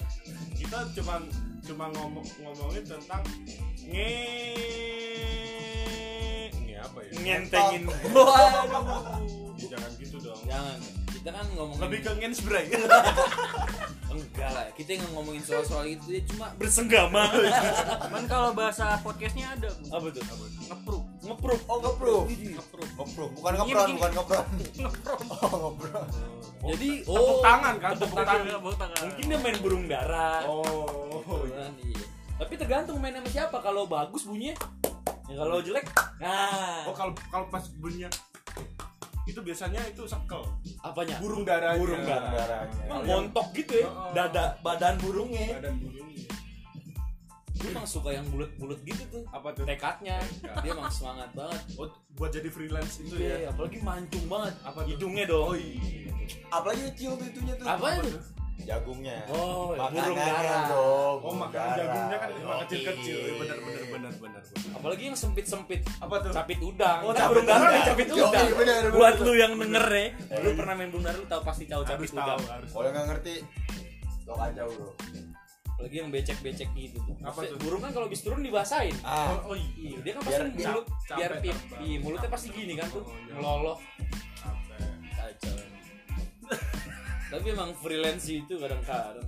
[SPEAKER 3] kita cuma cuma ngomong ngomongin tentang nge nge apa ya?
[SPEAKER 2] ngentengin waduh
[SPEAKER 3] Ya, jangan gitu dong.
[SPEAKER 2] jangan kita kan ngomongin
[SPEAKER 3] Lebih ke nge spray.
[SPEAKER 2] enggak lah kita nggak ngomongin soal soal itu ya cuma bersenggama
[SPEAKER 5] Cuman kalau bahasa podcastnya ada bu.
[SPEAKER 2] apa tuh apa tuh?
[SPEAKER 5] Ngeproof
[SPEAKER 2] ngeproof
[SPEAKER 4] Oh ngeproof.
[SPEAKER 2] Iya,
[SPEAKER 5] Ngeproof
[SPEAKER 4] Ngeproof, bukan ngepron,
[SPEAKER 5] Gini, gini.
[SPEAKER 4] bukan ngepron.
[SPEAKER 5] Ngeproof
[SPEAKER 4] Oh ngepron.
[SPEAKER 2] jadi
[SPEAKER 3] tepuk
[SPEAKER 2] oh
[SPEAKER 3] tangan kan tepuk
[SPEAKER 5] Tepuk tangan,
[SPEAKER 3] tangan
[SPEAKER 5] tepuk tangan.
[SPEAKER 2] mungkin dia main burung dara
[SPEAKER 3] oh iya.
[SPEAKER 2] Kan, iya. tapi tergantung main sama siapa kalau bagus bunyinya ya kalau jelek nah
[SPEAKER 3] oh kalau kalau pas bunyinya itu biasanya itu sekel
[SPEAKER 2] apanya
[SPEAKER 3] burung darahnya
[SPEAKER 2] Burung darah.
[SPEAKER 4] Darahnya.
[SPEAKER 2] Emang montok gitu ya
[SPEAKER 3] Iya. Oh.
[SPEAKER 2] dada badan burungnya
[SPEAKER 3] badan burungnya
[SPEAKER 2] gue emang suka yang bulat-bulat gitu tuh
[SPEAKER 3] apa tuh
[SPEAKER 2] tekadnya dia emang semangat banget
[SPEAKER 3] Oh, buat jadi freelance itu ya
[SPEAKER 2] Iya, apalagi mancung banget
[SPEAKER 3] Apa tuh?
[SPEAKER 2] hidungnya dong
[SPEAKER 3] oh iya
[SPEAKER 4] Apalagi cium itunya tuh.
[SPEAKER 2] apa itu
[SPEAKER 4] Jagungnya.
[SPEAKER 2] oh burung
[SPEAKER 4] Makanannya
[SPEAKER 2] darah
[SPEAKER 4] dong.
[SPEAKER 3] iya. oh
[SPEAKER 4] burung
[SPEAKER 3] makan
[SPEAKER 4] darah.
[SPEAKER 3] jagungnya kan emang
[SPEAKER 4] Yoi.
[SPEAKER 3] kecil kecil bener bener bener bener bener.
[SPEAKER 2] apalagi yang sempit sempit
[SPEAKER 3] apa tuh
[SPEAKER 2] capit udang
[SPEAKER 3] Oh,
[SPEAKER 2] Nah,
[SPEAKER 3] capit
[SPEAKER 2] burung darah
[SPEAKER 3] udang. Iya,
[SPEAKER 2] kan capit
[SPEAKER 4] Yoi,
[SPEAKER 2] udang
[SPEAKER 4] Iya, bener, bener,
[SPEAKER 2] buat
[SPEAKER 4] bener.
[SPEAKER 2] lu yang denger ya lu pernah main burung darah lu tahu pasti tahu
[SPEAKER 3] harus
[SPEAKER 2] capit
[SPEAKER 3] tahu
[SPEAKER 2] udang
[SPEAKER 3] harus
[SPEAKER 4] Kalau nggak ngerti, lo kacau bro.
[SPEAKER 2] apalagi yang becek becek gitu tuh
[SPEAKER 3] Apa
[SPEAKER 2] Maksudnya,
[SPEAKER 3] tuh?
[SPEAKER 2] burung kan kalau habis turun dibasahin
[SPEAKER 4] Ah,
[SPEAKER 3] oh, oh iya
[SPEAKER 2] Iya, dia kan
[SPEAKER 4] Biar
[SPEAKER 2] pasti
[SPEAKER 4] pip.
[SPEAKER 2] mulut
[SPEAKER 3] Capek
[SPEAKER 2] biar pip
[SPEAKER 3] terbang.
[SPEAKER 2] Iya, mulutnya pasti gini kan tuh
[SPEAKER 3] Oh, iya.
[SPEAKER 2] meloloh
[SPEAKER 3] Capek.
[SPEAKER 2] kacau tapi emang freelance itu kadang-kadang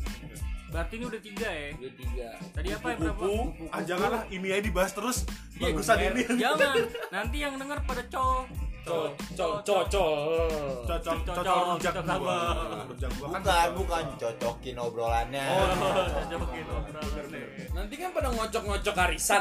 [SPEAKER 5] Berarti ini udah tiga ya
[SPEAKER 2] dua tiga
[SPEAKER 5] Tadi apa ya berapa?
[SPEAKER 2] Kupu-kupu.
[SPEAKER 3] ah janganlah ini aja dibahas terus
[SPEAKER 2] Iya,
[SPEAKER 3] bagusan
[SPEAKER 2] biar-
[SPEAKER 3] ini
[SPEAKER 5] Jangan Nanti yang denger pada co
[SPEAKER 2] co co co co
[SPEAKER 3] cocok
[SPEAKER 5] Cocok,
[SPEAKER 3] cocok rujak
[SPEAKER 5] cocok
[SPEAKER 3] gua
[SPEAKER 5] sama.
[SPEAKER 3] rujak gua kan
[SPEAKER 4] bukan,
[SPEAKER 3] cocok.
[SPEAKER 4] bukan cocokin obrolannya.
[SPEAKER 5] Oh,
[SPEAKER 3] iya.
[SPEAKER 5] cocokin obrolan deh.
[SPEAKER 2] nanti kan pada ngocok-ngocok arisan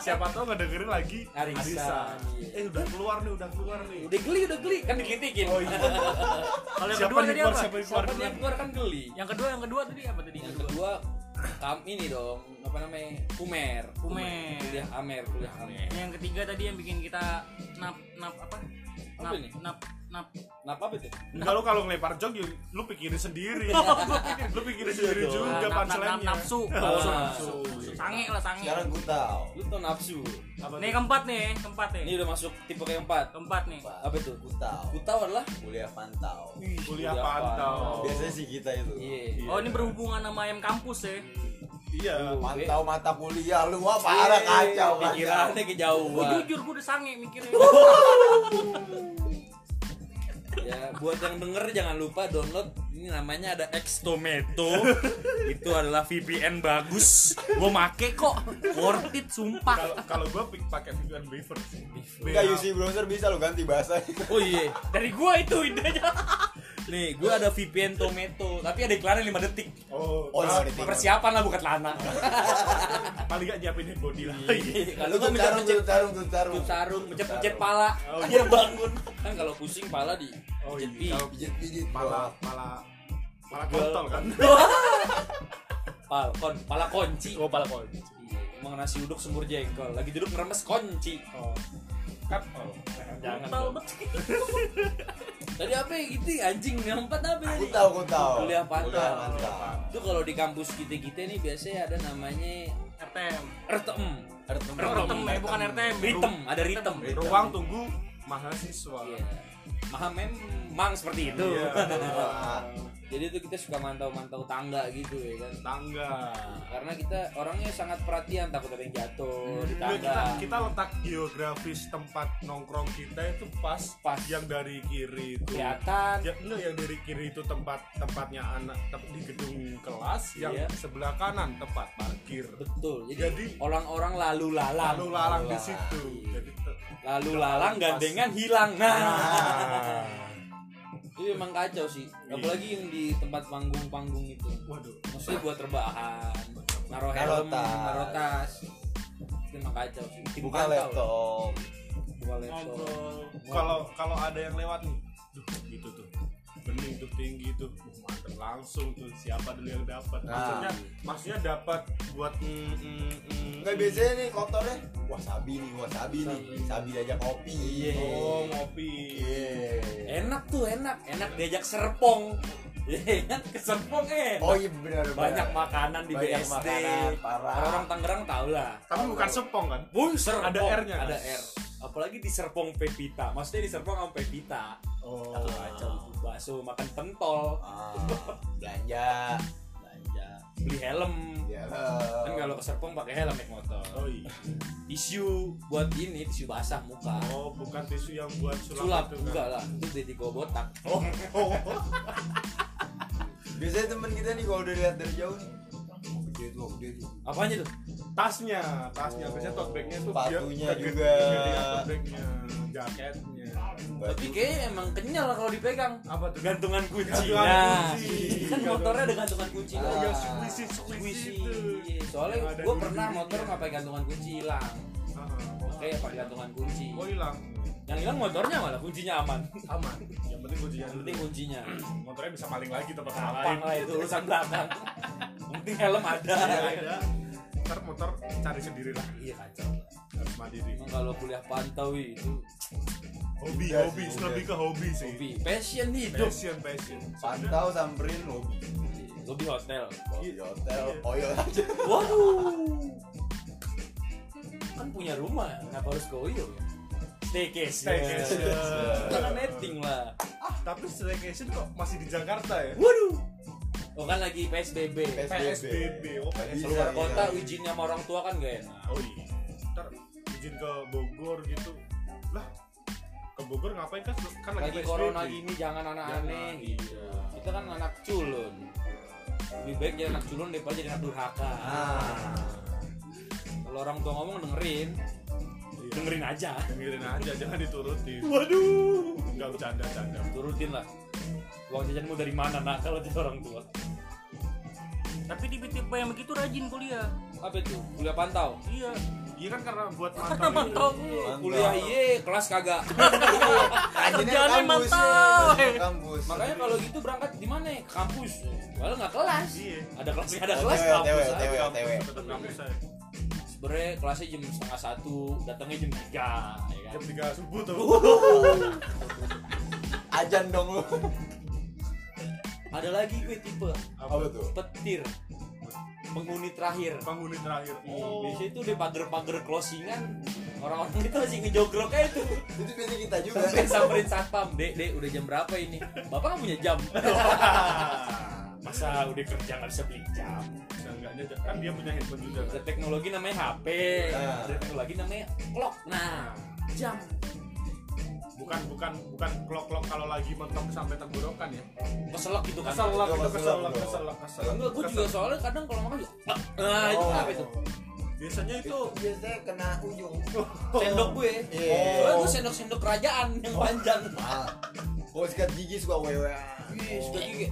[SPEAKER 3] siapa tahu nggak dengerin lagi
[SPEAKER 2] Arisan, iya.
[SPEAKER 3] eh udah keluar nih udah keluar nih
[SPEAKER 2] udah geli udah geli kan dikritikin
[SPEAKER 3] oh iya
[SPEAKER 5] Kalau yang
[SPEAKER 3] siapa
[SPEAKER 5] kedua
[SPEAKER 3] yang
[SPEAKER 5] tadi
[SPEAKER 3] keluar
[SPEAKER 5] apa?
[SPEAKER 3] siapa yang keluar
[SPEAKER 2] siapa dia keluar kan geli
[SPEAKER 5] Yang kedua, yang kedua tadi apa tadi?
[SPEAKER 2] yang kedua kam ini dong apa namanya kumer
[SPEAKER 5] Kumer.
[SPEAKER 2] kuliah amer kuliah amer
[SPEAKER 5] Yang ketiga tadi yang bikin kita nap nap apa?
[SPEAKER 2] Apa
[SPEAKER 5] Nap
[SPEAKER 2] ini?
[SPEAKER 5] nap nap.
[SPEAKER 2] kenapa apa itu
[SPEAKER 3] Enggak lu kalau ngelempar jok ya lu pikirin sendiri. lu pikirin sendiri
[SPEAKER 2] dong.
[SPEAKER 5] Nah,
[SPEAKER 3] juga
[SPEAKER 5] nap- nap-
[SPEAKER 3] panselannya.
[SPEAKER 5] nap- Nafsu, nafsu, nafsu. Sange lah sange.
[SPEAKER 4] Sekarang gue tahu.
[SPEAKER 2] lu tau nafsu
[SPEAKER 3] Apa
[SPEAKER 5] Nih
[SPEAKER 3] tuh?
[SPEAKER 5] keempat nih, keempat nih.
[SPEAKER 2] ini udah masuk tipe keempat
[SPEAKER 5] Keempat nih.
[SPEAKER 2] apa itu
[SPEAKER 4] Gue tahu.
[SPEAKER 2] kutau adalah
[SPEAKER 4] Kuliah pantau.
[SPEAKER 3] kuliah pantau.
[SPEAKER 4] Biasanya sih kita itu.
[SPEAKER 2] iya
[SPEAKER 5] Oh ini berhubungan sama ayam kampus ya.
[SPEAKER 3] Iya.
[SPEAKER 4] Pantau mata kuliah lu wah parah kacau kacau.
[SPEAKER 2] iya. pikirannya
[SPEAKER 5] Gue
[SPEAKER 2] kejauhan
[SPEAKER 5] Oh, jujur gue udah sange mikirnya.
[SPEAKER 2] ya buat yang denger jangan lupa download ini namanya ada Xtometo itu adalah VPN bagus gue make kok worth it sumpah
[SPEAKER 3] Kalau kalau gua pik- pakai VPN Beaver.
[SPEAKER 4] Enggak UC browser bisa lu ganti bahasa.
[SPEAKER 2] oh iya
[SPEAKER 5] Dari gue itu idenya.
[SPEAKER 2] nih gue ada VPN Tometo tapi ada iklannya 5 detik
[SPEAKER 3] Oh,
[SPEAKER 4] Oh,
[SPEAKER 3] nah,
[SPEAKER 4] sorry.
[SPEAKER 2] persiapan lah bukan lana
[SPEAKER 3] paling enggak nyiapin body lah.
[SPEAKER 2] kalau
[SPEAKER 4] Lu
[SPEAKER 2] kan
[SPEAKER 4] tuh
[SPEAKER 2] mencet
[SPEAKER 4] tarung,
[SPEAKER 2] mencet
[SPEAKER 4] tuh tarung, tuh tarung.
[SPEAKER 2] tutup sarung mencet mencet
[SPEAKER 4] Tutup
[SPEAKER 2] pala
[SPEAKER 3] Oh,
[SPEAKER 2] dia bangun kan kalau pusing pala di
[SPEAKER 3] Oh
[SPEAKER 2] mencet
[SPEAKER 3] iya. Kalau
[SPEAKER 4] Pijit pijit.
[SPEAKER 3] pala pala pala kontol kan.
[SPEAKER 2] pala kon pala kunci Iya,
[SPEAKER 3] Oh, pala kontol.
[SPEAKER 2] emang nasi uduk semur jengkol lagi duduk ngeremes kunci
[SPEAKER 3] Oh. Cut. Oh.
[SPEAKER 2] jangan
[SPEAKER 5] Tahu
[SPEAKER 2] dong. tadi apa ya gitu anjing yang empat apa ya tadi?
[SPEAKER 4] Gue tahu, gue tahu.
[SPEAKER 2] Kuliah pantau.
[SPEAKER 4] Kuliah pantau.
[SPEAKER 2] itu kalau di kampus kita kita nih biasanya ada namanya
[SPEAKER 5] RTM.
[SPEAKER 2] RTM
[SPEAKER 4] Ertem.
[SPEAKER 5] RTM ya bukan RTM.
[SPEAKER 2] ritem ada ritem
[SPEAKER 3] Ruang tunggu mahasiswa.
[SPEAKER 2] Iya. Maha memang seperti itu
[SPEAKER 3] Iya.
[SPEAKER 2] jadi itu kita suka mantau-mantau tangga gitu ya kan
[SPEAKER 3] Tangga.
[SPEAKER 2] karena kita orangnya sangat perhatian takut ada yang jatuh di
[SPEAKER 3] Nggak, iya, kita
[SPEAKER 2] tangga
[SPEAKER 3] kita letak geografis tempat nongkrong kita itu pas
[SPEAKER 2] Pas.
[SPEAKER 3] yang dari kiri
[SPEAKER 2] Iya.
[SPEAKER 3] itu
[SPEAKER 2] kelihatan
[SPEAKER 3] ya enggak yang dari kiri itu tempat tempatnya anak tem- di gedung kelas yang
[SPEAKER 2] Iya.
[SPEAKER 3] sebelah kanan tempat parkir
[SPEAKER 2] betul jadi,
[SPEAKER 3] Jadi-
[SPEAKER 2] orang-orang lalu lalang
[SPEAKER 3] lalu lalang di
[SPEAKER 4] lalang.
[SPEAKER 3] situ jadi te-
[SPEAKER 2] lalu lalang gandengan hilang nah
[SPEAKER 3] Ah.
[SPEAKER 2] itu memang kacau sih apalagi yang di tempat panggung-panggung itu
[SPEAKER 3] waduh
[SPEAKER 2] maksudnya buat rebahan naruh helm
[SPEAKER 4] Naro tas.
[SPEAKER 2] naruh tas itu emang kacau sih Tim
[SPEAKER 4] Buka
[SPEAKER 2] pantau.
[SPEAKER 4] laptop.
[SPEAKER 2] buka laptop
[SPEAKER 5] Ngobrol.
[SPEAKER 3] kalau kalau ada yang lewat nih duh gitu tuh bening tuh tinggi tuh Wah, mantep langsung tuh siapa dulu yang dapat
[SPEAKER 2] Ah.
[SPEAKER 4] Nah.
[SPEAKER 3] maksudnya maksudnya dapat buat mm, mm, mm,
[SPEAKER 4] Enggak biasanya nih kotornya wasabi nih, wasabi nih. Sabi diajak kopi.
[SPEAKER 2] Iya.
[SPEAKER 3] oh ngopi
[SPEAKER 4] Iya.
[SPEAKER 2] enak tuh enak enak diajak serpong Iya kan ke serpong eh
[SPEAKER 4] Oh iya benar
[SPEAKER 2] banyak makanan di
[SPEAKER 4] Banyak
[SPEAKER 2] BSD
[SPEAKER 4] makanan, parah.
[SPEAKER 2] orang Tangerang tau lah
[SPEAKER 3] tapi bukan sepong kan
[SPEAKER 2] Wuh, Serpong.
[SPEAKER 3] Ada R-nya.
[SPEAKER 2] ada R apalagi di Serpong Pepita maksudnya di Serpong sama Pepita
[SPEAKER 3] oh
[SPEAKER 2] Aduh, kacau itu bakso makan pentol
[SPEAKER 4] Ah, belanja.
[SPEAKER 2] belanja beli helm
[SPEAKER 4] Ya.
[SPEAKER 2] kan kalau ke Serpong pakai helm naik motor
[SPEAKER 3] oh iya
[SPEAKER 2] tisu buat ini tisu basah muka
[SPEAKER 3] oh bukan tisu yang buat sulap,
[SPEAKER 2] sulap
[SPEAKER 3] itu kan
[SPEAKER 2] enggak lah itu jadi gua botak
[SPEAKER 3] Oh, oh, oh.
[SPEAKER 4] Biasanya temen kita nih kalau udah lihat dari jauh nih. Mau gede tuh, mau gede tuh.
[SPEAKER 2] Apanya tuh?
[SPEAKER 3] tasnya tasnya biasanya tote bagnya tuh dia
[SPEAKER 4] Sepatunya
[SPEAKER 3] gede-
[SPEAKER 4] juga.
[SPEAKER 3] gedean tote bagnya jaketnya
[SPEAKER 4] Baju.
[SPEAKER 2] Tapi kayaknya emang kenyal kalau dipegang.
[SPEAKER 3] apa tuh
[SPEAKER 2] Gantungan kunci.
[SPEAKER 3] Gantungan
[SPEAKER 2] Nah,
[SPEAKER 3] kunci.
[SPEAKER 2] kan motornya ada gantungan kunci.
[SPEAKER 3] oh
[SPEAKER 2] Nah.
[SPEAKER 3] yang squishy squishy itu
[SPEAKER 2] Iya, Soalnya
[SPEAKER 3] Yang ada
[SPEAKER 2] gue
[SPEAKER 3] dulu
[SPEAKER 2] pernah
[SPEAKER 3] dulu.
[SPEAKER 2] motor nggak pakai gantungan kunci hilang.
[SPEAKER 3] Ah,
[SPEAKER 2] Oke, pakai gantungan kunci.
[SPEAKER 3] oh hilang
[SPEAKER 2] Yang hilang motornya malah kuncinya aman.
[SPEAKER 3] aman yang penting kuncinya
[SPEAKER 2] Yang
[SPEAKER 3] dulu
[SPEAKER 2] penting kuncinya.
[SPEAKER 3] motornya bisa maling lagi tempat orang
[SPEAKER 2] Gampang
[SPEAKER 3] lain
[SPEAKER 2] lah itu urusan belakang. Yang penting helm ada.
[SPEAKER 3] Iya, ada ntar motor cari sendiri lah
[SPEAKER 2] Iya kacau.
[SPEAKER 3] harus mandiri
[SPEAKER 2] Emang kalau kuliah pantau wih, itu
[SPEAKER 3] hobi
[SPEAKER 4] Udah
[SPEAKER 3] hobi
[SPEAKER 4] sih,
[SPEAKER 3] lebih ke hobi sih
[SPEAKER 2] hobi, passion hidup.
[SPEAKER 3] passion passion Sebenarnya-
[SPEAKER 4] Pantau samperin lo.
[SPEAKER 2] Hobi hotel.
[SPEAKER 4] Di hotel, koyo aja.
[SPEAKER 2] Waduh. Kan punya rumah, kenapa harus koyo ya? Staycation.
[SPEAKER 3] Staycation.
[SPEAKER 2] Iya, Karena netting lah.
[SPEAKER 3] tapi staycation kok masih di Jakarta ya
[SPEAKER 2] Waduh. Oh kan lagi PSBB.
[SPEAKER 3] PSBB oh
[SPEAKER 4] Nggak bisa,
[SPEAKER 2] Keluar
[SPEAKER 4] iya.
[SPEAKER 2] kota izinnya sama orang tua kan gak enak.
[SPEAKER 3] Oh iya. Ntar izin ke Bogor gitu. Lah, ke Bogor ngapain kan? Kan lagi,
[SPEAKER 2] Lagi
[SPEAKER 3] PSBB.
[SPEAKER 2] corona gini jangan anak
[SPEAKER 3] Jangan,
[SPEAKER 2] aneh gitu.
[SPEAKER 3] iya.
[SPEAKER 2] Kita kan anak culun. Lebih baik jadi anak culun daripada jadi anak durhaka. Ah. Kalau orang tua ngomong dengerin,
[SPEAKER 3] Iya.
[SPEAKER 2] dengerin aja.
[SPEAKER 3] Dengerin aja, jangan diturutin.
[SPEAKER 2] Waduh.
[SPEAKER 3] Enggak bercanda-canda.
[SPEAKER 2] Turutin lah. Uang jajanmu dari mana nak kalau jadi orang tua?
[SPEAKER 5] Tapi di BTP yang begitu rajin kuliah.
[SPEAKER 2] Apa itu? Kuliah pantau.
[SPEAKER 5] Iya.
[SPEAKER 3] Iya kan karena buat
[SPEAKER 5] Karena mantau.
[SPEAKER 3] mantap.
[SPEAKER 4] Mantau.
[SPEAKER 2] Kuliah iye, kelas kagak.
[SPEAKER 5] Kerjaannya
[SPEAKER 4] Kerjaannya kampus,
[SPEAKER 5] mantau,
[SPEAKER 4] ya. Kerjaannya
[SPEAKER 5] eh.
[SPEAKER 4] Kampus.
[SPEAKER 2] Makanya kalau gitu berangkat di mana? ya? Ke Kampus. Padahal nggak kelas.
[SPEAKER 3] Iya.
[SPEAKER 2] Ada kelasnya ada
[SPEAKER 4] Oh,
[SPEAKER 2] kelas
[SPEAKER 4] tewe,
[SPEAKER 2] kampus.
[SPEAKER 4] tewe,
[SPEAKER 2] aja.
[SPEAKER 4] tewe, tewe.
[SPEAKER 3] Tetap kampus saya.
[SPEAKER 2] Sebenernya kelasnya jam setengah satu, datangnya jam tiga. Ya kan?
[SPEAKER 3] Jam 3 subuh tuh.
[SPEAKER 4] Ajan dong lo.
[SPEAKER 2] Ada lagi gue tipe
[SPEAKER 4] Apa tuh?
[SPEAKER 2] petir, penghuni terakhir.
[SPEAKER 3] Penghuni terakhir.
[SPEAKER 2] Oh. Biasanya itu di pagar-pagar closingan orang-orang itu masih ngejogroknya itu
[SPEAKER 4] Itu biasanya kita juga.
[SPEAKER 2] sampai samperin satpam dek dek udah jam berapa ini bapak nggak punya jam masa udah kerja nggak bisa beli jam
[SPEAKER 3] Nah, enggaknya kan dia punya handphone juga.
[SPEAKER 2] ada
[SPEAKER 3] kan?
[SPEAKER 2] teknologi namanya HP
[SPEAKER 4] Nah.
[SPEAKER 2] ada teknologi namanya clock nah jam
[SPEAKER 3] Bukan bukan bukan klok-klok kalau lagi mentok sampai tenggorokan ya.
[SPEAKER 2] keselak gitu kan
[SPEAKER 3] Kesel lah, itu
[SPEAKER 4] Itu
[SPEAKER 3] kesel
[SPEAKER 4] kesel
[SPEAKER 3] lah,
[SPEAKER 4] bro.
[SPEAKER 3] kesel lah, kesel.
[SPEAKER 2] enggak gue juga soalnya kadang kalau makan juga
[SPEAKER 4] Oh.
[SPEAKER 2] nah itu apa itu
[SPEAKER 3] Biasanya itu
[SPEAKER 4] Itu biasanya kena ujung.
[SPEAKER 2] sendok gue
[SPEAKER 4] Iya.
[SPEAKER 2] soalnya gue sendok sendok kerajaan yang panjang
[SPEAKER 4] Ah. Oh, sikat gigi suka wewe.
[SPEAKER 2] Wih, suka juga.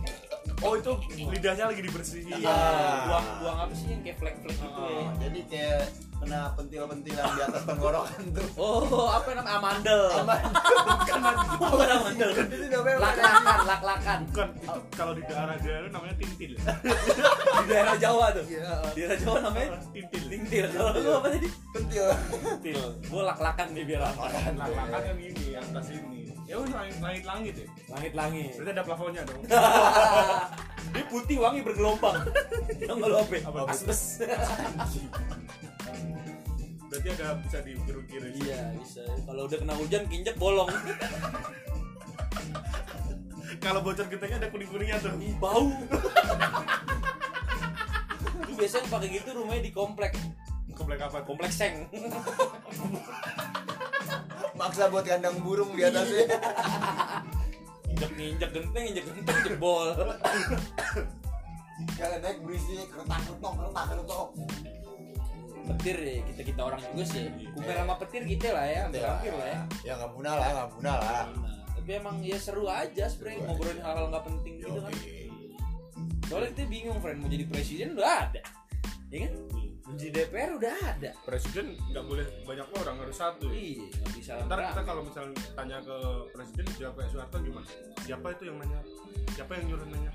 [SPEAKER 3] oh itu lidahnya lagi dibersihin.
[SPEAKER 4] Iya.
[SPEAKER 2] buang-buang apa sih yang kayak flek-flek gitu ya
[SPEAKER 4] Oh, Jadi kayak kena pentil-pentilan di atas tenggorokan tuh.
[SPEAKER 2] Oh, apa yang namanya amandel? Bukan amandel.
[SPEAKER 4] Itu namanya
[SPEAKER 2] Lak-lakan, lak-lakan.
[SPEAKER 3] Bukan, itu kalau di daerah daerah namanya tintil.
[SPEAKER 2] Di daerah Jawa tuh.
[SPEAKER 4] Iya,
[SPEAKER 2] Di daerah Jawa namanya
[SPEAKER 3] Tintil.
[SPEAKER 2] tintil. Kalau lu apa tadi?
[SPEAKER 4] pentil.
[SPEAKER 2] Tintil. Gua lak-lakan nih biar apa?
[SPEAKER 3] Nah, langkah kan gini, atas ini. Ya udah langit, langit langit ya.
[SPEAKER 2] Langit-langit.
[SPEAKER 3] Berarti ada plafonnya dong.
[SPEAKER 2] Dia putih wangi bergelombang. Yang lu apa?
[SPEAKER 3] Apa?
[SPEAKER 2] Asbes.
[SPEAKER 3] Berarti ada bisa di jeruk kiri.
[SPEAKER 2] Iya, bisa. Kalau udah kena hujan kinjek bolong.
[SPEAKER 3] Kalau bocor getengnya ada kuning kuningnya tuh.
[SPEAKER 2] Ih, bau. Lu biasanya pakai gitu rumahnya di komplek.
[SPEAKER 3] Komplek apa?
[SPEAKER 2] Komplek seng.
[SPEAKER 4] Maksa buat kandang burung di ya. atasnya.
[SPEAKER 2] Injek-injek genteng, injek genteng jebol.
[SPEAKER 4] Kalau naik berisinya kertak-kertok, kertak-kertok.
[SPEAKER 2] petir ya kita kita orang juga sih kumpul sama petir kita lah ya hampir hampir lah ya
[SPEAKER 4] Ya nggak guna lah, nggak guna lah.
[SPEAKER 2] Nah, tapi emang ya seru aja sebenernya
[SPEAKER 4] Seru aja.
[SPEAKER 2] ngobrolin hal-hal nggak penting gitu kan
[SPEAKER 4] Yoi.
[SPEAKER 2] soalnya kita bingung friend mau jadi presiden udah ada ya kan mau jadi DPR udah ada
[SPEAKER 3] Presiden nggak boleh banyak orang harus satu.
[SPEAKER 2] iya nggak bisa
[SPEAKER 3] Ntar kita
[SPEAKER 2] rame.
[SPEAKER 3] kalau misalnya tanya ke presiden siapa ya Soeharto gimana? Siapa itu yang nanya? Siapa yang nyuruh nanya?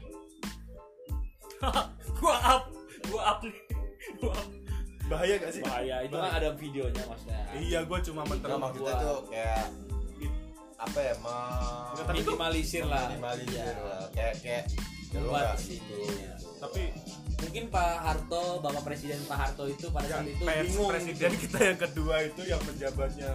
[SPEAKER 5] gua up. Gua up nih. Gua up.
[SPEAKER 3] Bahaya gak sih?
[SPEAKER 2] bahaya itu kan ada videonya maksudnya
[SPEAKER 3] Iya, gue cuma
[SPEAKER 4] Nggak
[SPEAKER 3] mentereng.
[SPEAKER 4] maksudnya tuh kayak apa ya mau
[SPEAKER 3] Nggak, tapi itu
[SPEAKER 2] minimalisir lah
[SPEAKER 4] minimalisir
[SPEAKER 2] Iya.
[SPEAKER 4] lah kayak kayak ya lu
[SPEAKER 2] Buat
[SPEAKER 4] nggak
[SPEAKER 2] sih. Iya.
[SPEAKER 4] gitu
[SPEAKER 3] Tapi
[SPEAKER 2] mungkin Pak Harto bapak Ya, presiden Pak Harto itu pada
[SPEAKER 3] yang
[SPEAKER 2] saat itu
[SPEAKER 3] pers-
[SPEAKER 2] bingung
[SPEAKER 3] presiden kita yang kedua itu yang pejabatnya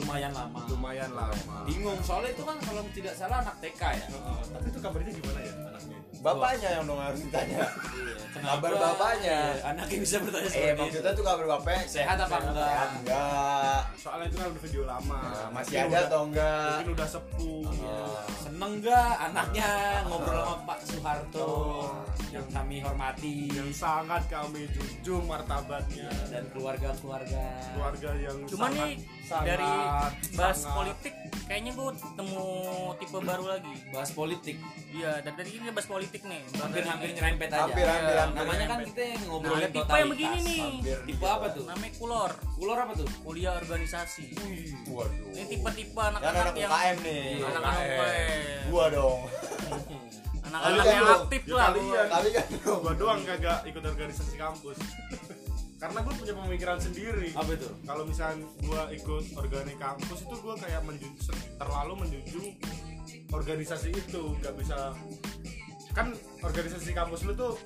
[SPEAKER 2] lumayan lama
[SPEAKER 7] lumayan lama
[SPEAKER 2] bingung soalnya itu kan kalau tidak salah anak TK ya
[SPEAKER 3] Heeh, Eh, tapi itu kabarnya gimana ya anaknya
[SPEAKER 4] Bapaknya yang dong harus ditanya. Kabar
[SPEAKER 2] Iya, Kenapa,
[SPEAKER 4] bapaknya.
[SPEAKER 2] eh, anaknya bisa bertanya
[SPEAKER 4] Eh,
[SPEAKER 2] seperti itu
[SPEAKER 4] maksudnya tuh kabar bapaknya
[SPEAKER 2] sehat apa enggak
[SPEAKER 4] sehat enggak?
[SPEAKER 7] soalnya itu kan udah video lama
[SPEAKER 4] Nah, masih
[SPEAKER 3] Mungkin
[SPEAKER 4] ada
[SPEAKER 3] udah-
[SPEAKER 4] atau enggak?
[SPEAKER 3] mungkin udah sepuh
[SPEAKER 4] Ah.
[SPEAKER 2] seneng enggak anaknya ngobrol sama Pak Soeharto yang kami hormati
[SPEAKER 3] yang sangat kami junjung martabatnya
[SPEAKER 2] dan keluarga-keluarga
[SPEAKER 3] keluarga yang
[SPEAKER 5] Cuman
[SPEAKER 3] sangat,
[SPEAKER 5] nih dari bahas
[SPEAKER 3] sangat-
[SPEAKER 5] politik kayaknya gue ketemu tipe baru lagi.
[SPEAKER 2] bahas politik
[SPEAKER 5] Iya, dari tadi kita bahas politik nih. bahas
[SPEAKER 2] hampir
[SPEAKER 5] dari-
[SPEAKER 2] hampir nyerempet aja
[SPEAKER 4] Hampir, hampir,
[SPEAKER 2] Ya,
[SPEAKER 4] hampir
[SPEAKER 2] namanya kan
[SPEAKER 5] nyerempet.
[SPEAKER 2] kita yang
[SPEAKER 5] Nah, ada
[SPEAKER 2] ngobrolin
[SPEAKER 5] tipe
[SPEAKER 2] totalitas.
[SPEAKER 5] yang begini nih.
[SPEAKER 4] Hampir
[SPEAKER 2] tipe apa tuh
[SPEAKER 5] Namanya Kulor,
[SPEAKER 2] kulor apa tuh
[SPEAKER 5] kuliah organisasi.
[SPEAKER 4] Waduh.
[SPEAKER 5] Ini tipe-tipe
[SPEAKER 3] Ya,
[SPEAKER 4] Kan anak
[SPEAKER 5] anak-anak yang
[SPEAKER 4] UKM nih.
[SPEAKER 5] anak-anak UKM.
[SPEAKER 4] Gua dong.
[SPEAKER 5] Anak-anak
[SPEAKER 4] Kalian
[SPEAKER 5] yang
[SPEAKER 4] dong.
[SPEAKER 5] aktif
[SPEAKER 3] Ya,
[SPEAKER 5] lah.
[SPEAKER 2] Iya.
[SPEAKER 3] kalian.
[SPEAKER 4] Tapi kan dong.
[SPEAKER 3] gua doang kagak ikut organisasi kampus karena gue punya pemikiran sendiri
[SPEAKER 2] apa itu
[SPEAKER 3] kalau misalnya gue ikut organik kampus itu gue kayak menjunjung terlalu menjunjung organisasi itu nggak bisa kan organisasi kampus lu tuh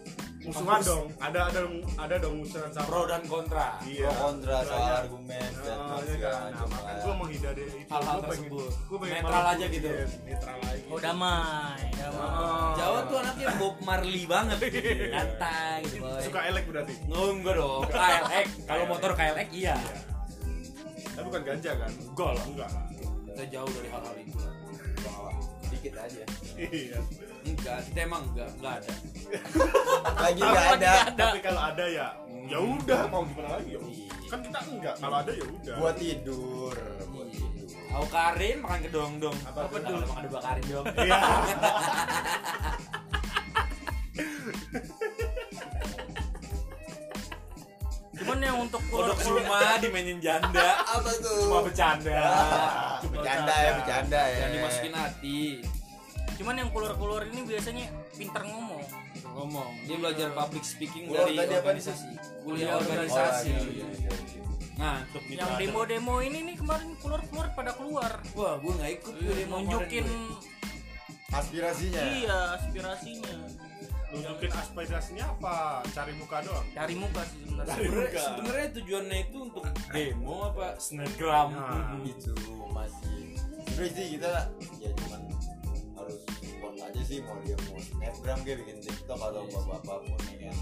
[SPEAKER 3] musuhan
[SPEAKER 4] Kampus.
[SPEAKER 3] dong ada ada ada dong musuhan sama
[SPEAKER 2] pro dan kontra
[SPEAKER 3] iya
[SPEAKER 4] Pro kontra soal
[SPEAKER 3] Soalnya-
[SPEAKER 4] argumen dan
[SPEAKER 3] Nah, iya
[SPEAKER 4] segala
[SPEAKER 3] kan? Nah,
[SPEAKER 4] macam
[SPEAKER 3] makanya
[SPEAKER 4] lah.
[SPEAKER 3] gue menghindari itu
[SPEAKER 2] Hal-hal
[SPEAKER 3] Gua pengen-
[SPEAKER 2] tersebut.
[SPEAKER 3] gua pengen
[SPEAKER 2] Netral
[SPEAKER 3] malah-
[SPEAKER 2] aja gitu.
[SPEAKER 3] iya, netral aja
[SPEAKER 5] Oh damai, damai.
[SPEAKER 3] Oh,
[SPEAKER 2] Jawa
[SPEAKER 3] iya.
[SPEAKER 2] tuh anaknya Bob Marley banget Nyantai gitu boy
[SPEAKER 3] suka elek berarti
[SPEAKER 2] Nggak, enggak dong KLX Kalau motor KLX iya
[SPEAKER 3] tapi bukan ganja kan
[SPEAKER 2] Enggak lah
[SPEAKER 3] enggak lah.
[SPEAKER 2] Kita jauh dari hal-hal itu lah
[SPEAKER 4] Dikit aja.
[SPEAKER 3] iya
[SPEAKER 2] Enggak, kita emang enggak, enggak ada
[SPEAKER 4] Lagi enggak ada.
[SPEAKER 3] tapi kalau ada ya ya udah mau gimana lagi ya
[SPEAKER 4] Iya.
[SPEAKER 3] kan kita enggak kalau ada ya udah
[SPEAKER 4] Gua tidur. Gua tidur.
[SPEAKER 2] Aku Karin makan ke dong
[SPEAKER 3] Apa
[SPEAKER 2] Apa
[SPEAKER 3] dong?
[SPEAKER 2] dong? Makan ke Karin dong
[SPEAKER 3] Iya.
[SPEAKER 5] Cuman yang untuk
[SPEAKER 2] Kodok
[SPEAKER 5] kulur-kulur
[SPEAKER 2] cuma dimainin janda
[SPEAKER 4] Apa tuh?
[SPEAKER 2] Cuma bercanda Iya.
[SPEAKER 4] Ah, bercanda ya, bercanda ya.
[SPEAKER 2] Jangan dimasukin hati
[SPEAKER 5] Cuman yang kulur-kulur ini biasanya pinter ngomong.
[SPEAKER 2] Ngomong Oh, Dia belajar public speaking
[SPEAKER 4] Kulur
[SPEAKER 2] dari
[SPEAKER 4] tadi apa nih,
[SPEAKER 2] organisasi Kuliah organisasi
[SPEAKER 4] Organisasi. Oh, iya, iya, iya.
[SPEAKER 2] Nah, untuk gitu
[SPEAKER 5] yang
[SPEAKER 2] aja.
[SPEAKER 5] demo-demo ini nih kemarin keluar-keluar pada keluar
[SPEAKER 2] Wah, gue gak ikut gue Iya, demo
[SPEAKER 5] nunjukin
[SPEAKER 2] kemarin,
[SPEAKER 4] Aspirasinya.
[SPEAKER 5] iya aspirasinya
[SPEAKER 3] nunjukin aspirasinya apa cari muka doang
[SPEAKER 5] dari muka sih sebenarnya
[SPEAKER 2] gue. Sebenarnya- Sebenarnya tujuannya itu untuk demo apa snapgram.
[SPEAKER 3] Nah.
[SPEAKER 4] itu Gitu, masih sebenarnya sih kita ya cuman harus support aja sih mau dia mau snapgram kayak bikin tiktok atau
[SPEAKER 2] Iya.
[SPEAKER 4] apa apa mau ya. yang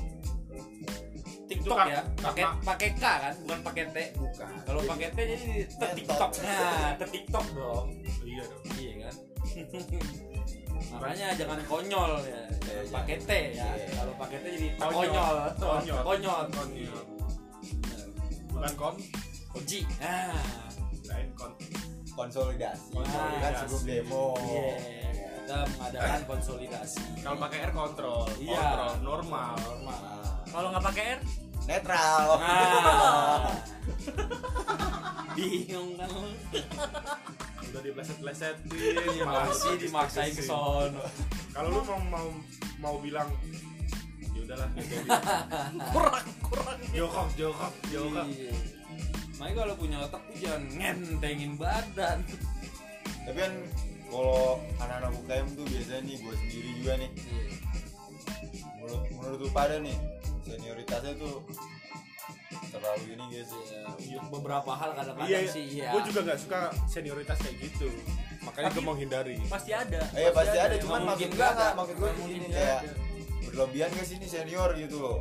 [SPEAKER 2] TikTok
[SPEAKER 3] Itu
[SPEAKER 2] ya,
[SPEAKER 3] kak-
[SPEAKER 2] pakai
[SPEAKER 3] kakak.
[SPEAKER 2] pakai K kan, bukan pakai T.
[SPEAKER 4] bukan
[SPEAKER 2] Kalau pakai T jadi te TikTok. Nah, te TikTok dong.
[SPEAKER 3] iya dong
[SPEAKER 2] Iya kan? Makanya jangan konyol ya. Jangan
[SPEAKER 4] Iya,
[SPEAKER 2] pakai T ya.
[SPEAKER 4] Iya.
[SPEAKER 2] Kalau pakai T jadi
[SPEAKER 3] Konyol.
[SPEAKER 2] konyol.
[SPEAKER 3] Konyol.
[SPEAKER 2] Konyol.
[SPEAKER 3] Konyol. bukan kon
[SPEAKER 2] Oji. Ah.
[SPEAKER 3] lain kon
[SPEAKER 4] konsolidasi
[SPEAKER 2] Konsolidasi.
[SPEAKER 4] kan sebelum demo
[SPEAKER 3] Oh.
[SPEAKER 2] Iya. Kita mengadakan konsolidasi.
[SPEAKER 3] kalau pakai R kontrol
[SPEAKER 2] Iya.
[SPEAKER 3] kontrol normal
[SPEAKER 2] Normal.
[SPEAKER 5] kalau nggak pakai R
[SPEAKER 4] Nah, netral
[SPEAKER 3] Oh.
[SPEAKER 2] Ah. Bingung kan lu.
[SPEAKER 3] udah dipleset-plesetin malah
[SPEAKER 2] Iya, Masih dimaksain ke sono.
[SPEAKER 3] kalau lu mau mau mau bilang ya udahlah gitu
[SPEAKER 5] kurang kurang
[SPEAKER 3] jokok jokok jokok
[SPEAKER 2] Iya. Makanya kalau punya otak tuh jangan ngentengin badan.
[SPEAKER 4] tapi kan kalau anak-anak UKM tuh biasanya nih gue sendiri juga nih menurut menurut lu pada nih senioritasnya tuh terlalu ini guys
[SPEAKER 2] Iya. Beberapa hal kadang-kadang
[SPEAKER 3] iya
[SPEAKER 2] sih iya.
[SPEAKER 3] gue juga nggak suka senioritas kayak gitu makanya gue mau hindari
[SPEAKER 5] pasti ya. ada
[SPEAKER 4] Eh, pasti ada, cuman
[SPEAKER 2] Nggak
[SPEAKER 4] makin
[SPEAKER 2] mungkin
[SPEAKER 4] gua
[SPEAKER 2] nggak Iya,
[SPEAKER 4] nggak,
[SPEAKER 2] ada.
[SPEAKER 4] makin gua
[SPEAKER 2] Nggak
[SPEAKER 4] gini
[SPEAKER 2] mungkin
[SPEAKER 4] kayak
[SPEAKER 2] nggak
[SPEAKER 4] berlebihan ke sini senior gitu loh.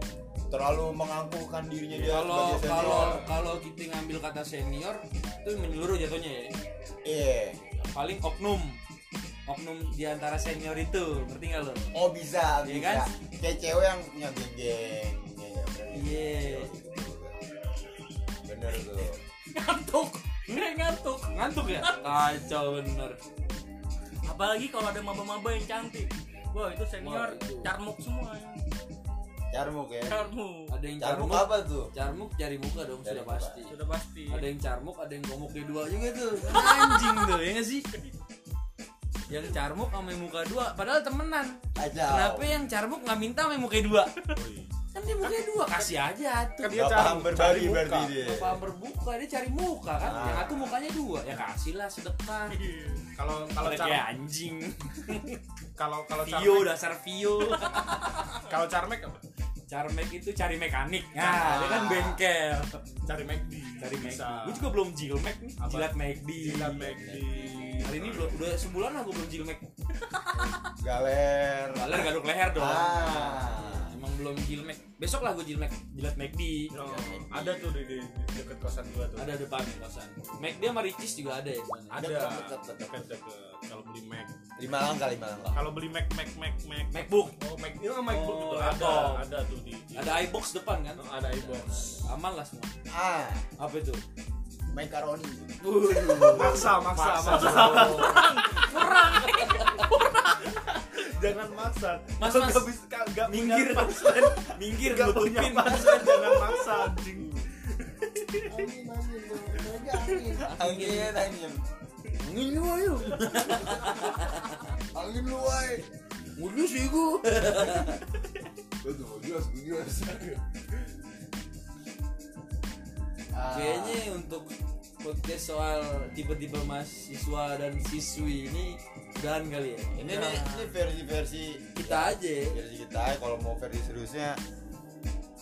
[SPEAKER 4] Terlalu mengangkuhkan dirinya dia
[SPEAKER 2] Kalau
[SPEAKER 4] sebagai senior.
[SPEAKER 2] Iya, kalau kalau kita ngambil kata senior itu menyeluruh jatuhnya ya.
[SPEAKER 4] eh,
[SPEAKER 2] Paling oknum. Oknum di antara senior itu, ngerti nggak lo?
[SPEAKER 4] oh
[SPEAKER 2] Iya
[SPEAKER 4] bisa, bisa.
[SPEAKER 2] kan?
[SPEAKER 4] Kayak cewek yang punya geng-geng. Iya, iya, bener.
[SPEAKER 2] Iya.
[SPEAKER 4] Bener tuh.
[SPEAKER 5] ngantuk nggak ngantuk
[SPEAKER 2] Ngantuk ya? Kacau bener.
[SPEAKER 5] apalagi kalau ada maba-maba yang cantik wah itu senior
[SPEAKER 2] Wah, itu.
[SPEAKER 5] carmuk semua ya.
[SPEAKER 4] Carmuk ya.
[SPEAKER 5] carmuk
[SPEAKER 2] Ada yang
[SPEAKER 4] Carmuk
[SPEAKER 2] carmuk,
[SPEAKER 4] apa tuh?
[SPEAKER 2] carmuk cari muka dong
[SPEAKER 4] Cari
[SPEAKER 2] sudah
[SPEAKER 4] muka.
[SPEAKER 2] pasti.
[SPEAKER 5] sudah pasti
[SPEAKER 2] Ada yang carmuk, ada yang komuknya dua juga tuh. Anjing tuh, ya nggak sih? Yang carmuk sama yang muka dua, padahal temenan.
[SPEAKER 4] Aja.
[SPEAKER 2] Kenapa ya? yang carmuk nggak minta sama yang mukanya dua? Kan dia mukanya dua, kasih aja
[SPEAKER 3] kan
[SPEAKER 2] tuh.
[SPEAKER 3] dia
[SPEAKER 4] Gak paham
[SPEAKER 3] cari cari
[SPEAKER 4] berbagi
[SPEAKER 3] muka.
[SPEAKER 4] berarti dia.
[SPEAKER 2] Apa berbuka dia cari muka kan?
[SPEAKER 4] Ah.
[SPEAKER 2] Yang satu mukanya dua, ya kasih lah sedekah.
[SPEAKER 3] kalau kalau
[SPEAKER 2] Kalau
[SPEAKER 3] cari
[SPEAKER 2] kayak anjing,
[SPEAKER 3] kalau kalau
[SPEAKER 2] Vio
[SPEAKER 3] carmek
[SPEAKER 2] dasar Vio.
[SPEAKER 3] kalau carmek apa
[SPEAKER 2] Carmek itu cari mekanik. Nah, dia kan bengkel.
[SPEAKER 3] cari McD
[SPEAKER 2] Cari
[SPEAKER 3] Bisa.
[SPEAKER 2] mekanik. Gue juga belum jilmek nih,
[SPEAKER 3] Apa?
[SPEAKER 2] jilat McD.
[SPEAKER 3] jilat McD
[SPEAKER 2] Hari ini belum udah sebulan aku belum jilmek.
[SPEAKER 4] galer
[SPEAKER 2] Galer garuk leher dong.
[SPEAKER 4] ah
[SPEAKER 2] Emang belum jilmek. Besok lah gue jilmek, jilat McD.
[SPEAKER 3] No, Oh, ada tuh di, di, di deket kosan gua tuh
[SPEAKER 2] Ada depan kosan. McD sama Ricis juga ada ya sebenarnya.
[SPEAKER 3] ada
[SPEAKER 4] Deket, deket, deket.
[SPEAKER 3] deket deket kalau beli Mac
[SPEAKER 4] lima langkah lima langkah
[SPEAKER 3] kalau beli Mac Mac Mac Mac
[SPEAKER 2] MacBook.
[SPEAKER 3] oh Mac itu MacBook
[SPEAKER 2] Oh,
[SPEAKER 3] itu ada
[SPEAKER 2] laptop.
[SPEAKER 3] ada tuh di, di-
[SPEAKER 2] Ada iBox depan kan?
[SPEAKER 3] No, ada iBox
[SPEAKER 2] Aman lah semua.
[SPEAKER 4] ah
[SPEAKER 2] Apa itu?
[SPEAKER 4] macaroni
[SPEAKER 3] maksa maksa maksa jangan maksa
[SPEAKER 2] Mas,
[SPEAKER 3] Kalau
[SPEAKER 2] mas.
[SPEAKER 3] nggak bisa nggak- nggak punya
[SPEAKER 2] Minggir.
[SPEAKER 3] pasien
[SPEAKER 2] Minggir
[SPEAKER 3] nggak punya
[SPEAKER 2] nutupin.
[SPEAKER 3] pasien jangan maksa anjing
[SPEAKER 6] Angin, angin, bro. Mereka angin.
[SPEAKER 4] angin angin angin lu ayo angin lu ayo
[SPEAKER 2] Mulus sih gue.
[SPEAKER 7] Lu tuh gugus, gugus.
[SPEAKER 4] Ah,
[SPEAKER 2] Kayaknya untuk podcast soal tipe-tipe mahasiswa dan siswi ini udahan kali ya.
[SPEAKER 4] ini nih ini versi versi
[SPEAKER 2] Kita aja ya.
[SPEAKER 4] versi kita aja. kalau mau versi seriusnya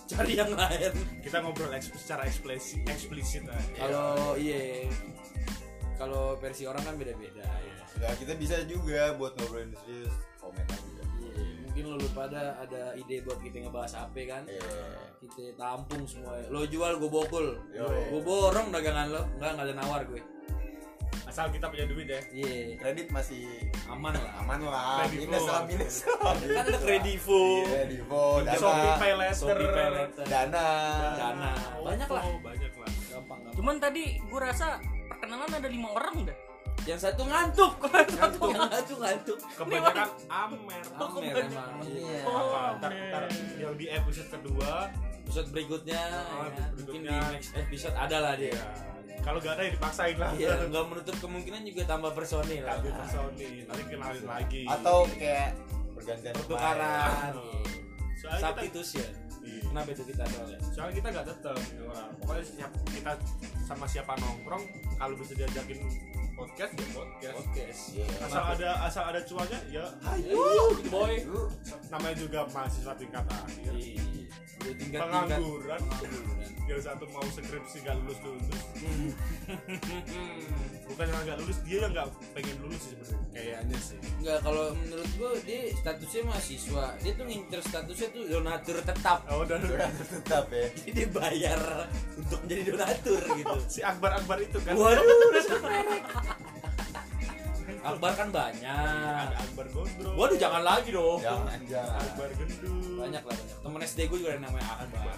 [SPEAKER 2] cari yang lain.
[SPEAKER 3] kita ngobrol eks- secara eksplisit eksplisit eh. aja
[SPEAKER 2] Kalau iya kalau versi orang kan beda-beda ya.
[SPEAKER 4] ya kita bisa juga buat ngobrolin serius komen aja
[SPEAKER 2] Iya, Mungkin lo lu pada ada ide buat kita ngebahas apa kan?
[SPEAKER 4] Eh,
[SPEAKER 2] Kita tampung semua. Lo jual gue bokul.
[SPEAKER 4] Yo,
[SPEAKER 2] Gue borong dagangan lo. Enggak enggak ada nawar gue.
[SPEAKER 3] asal kita punya duit ya
[SPEAKER 2] Iya.
[SPEAKER 4] kredit masih
[SPEAKER 2] Aman lah.
[SPEAKER 4] aman lah
[SPEAKER 3] Kredit
[SPEAKER 4] minus
[SPEAKER 3] lo.
[SPEAKER 4] lah minus
[SPEAKER 2] Kan ada kredivo.
[SPEAKER 4] kredivo
[SPEAKER 3] Shopee
[SPEAKER 4] dana
[SPEAKER 3] Pay Later
[SPEAKER 2] Shopee Pay Later.
[SPEAKER 4] dana
[SPEAKER 2] Dana. Nah,
[SPEAKER 3] Oh,
[SPEAKER 2] Banyak lah.
[SPEAKER 3] oh, banyak lah
[SPEAKER 2] Gampang gampang.
[SPEAKER 5] Cuman tadi gue rasa perkenalan ada lima orang dah.
[SPEAKER 2] Yang satu ngantuk. Yang satu ngantuk ngantuk.
[SPEAKER 3] kebanyakan Amer
[SPEAKER 2] Amer emang. Iya.
[SPEAKER 3] apa ntar, ntar yang di episode kedua
[SPEAKER 2] episode berikutnya
[SPEAKER 3] Oh,
[SPEAKER 2] ya,
[SPEAKER 3] episode
[SPEAKER 2] mungkin di
[SPEAKER 3] berikutnya.
[SPEAKER 2] next episode ada lah dia
[SPEAKER 3] ya kalau gak ada ya dipaksain lah
[SPEAKER 2] iya nggak menutup kemungkinan juga tambah personil lah
[SPEAKER 3] tapi personil nanti kenalin lagi
[SPEAKER 4] atau kayak pergantian pemain.
[SPEAKER 2] pertukaran
[SPEAKER 3] Oh. soalnya kita
[SPEAKER 2] substitution
[SPEAKER 3] Iya.
[SPEAKER 2] kenapa itu kita soalnya
[SPEAKER 3] soalnya kita gak tetep gitu lah. pokoknya siap, kita sama siapa nongkrong kalau bisa diajakin podcast ya podcast
[SPEAKER 2] podcast
[SPEAKER 4] Iya.
[SPEAKER 3] asal ada asal ada cuanya ya
[SPEAKER 2] ayo boy
[SPEAKER 3] namanya juga mahasiswa tingkat ya. akhir
[SPEAKER 2] Iya. Udah tingkat tingkat
[SPEAKER 3] pengangguran yang satu mau skripsi gak lulus lulus bukan yang gak lulus dia yang gak pengen lulus sih sebenarnya kayaknya sih
[SPEAKER 2] Enggak, kalau menurut gue dia statusnya mahasiswa Dia tuh ngincer statusnya tuh donatur tetap
[SPEAKER 3] oh dan
[SPEAKER 4] tetap ya
[SPEAKER 2] Jadi dia bayar untuk menjadi donatur gitu
[SPEAKER 3] si Akbar Akbar itu kan
[SPEAKER 2] Waduh, udah sebut merek. Akbar kan banyak
[SPEAKER 3] ada Akbar Gondrong
[SPEAKER 2] Waduh jangan lagi dong.
[SPEAKER 4] jangan jangan
[SPEAKER 3] Akbar Gendut
[SPEAKER 2] Banyak lah banyak. Temen SD gue juga ada namanya Akbar.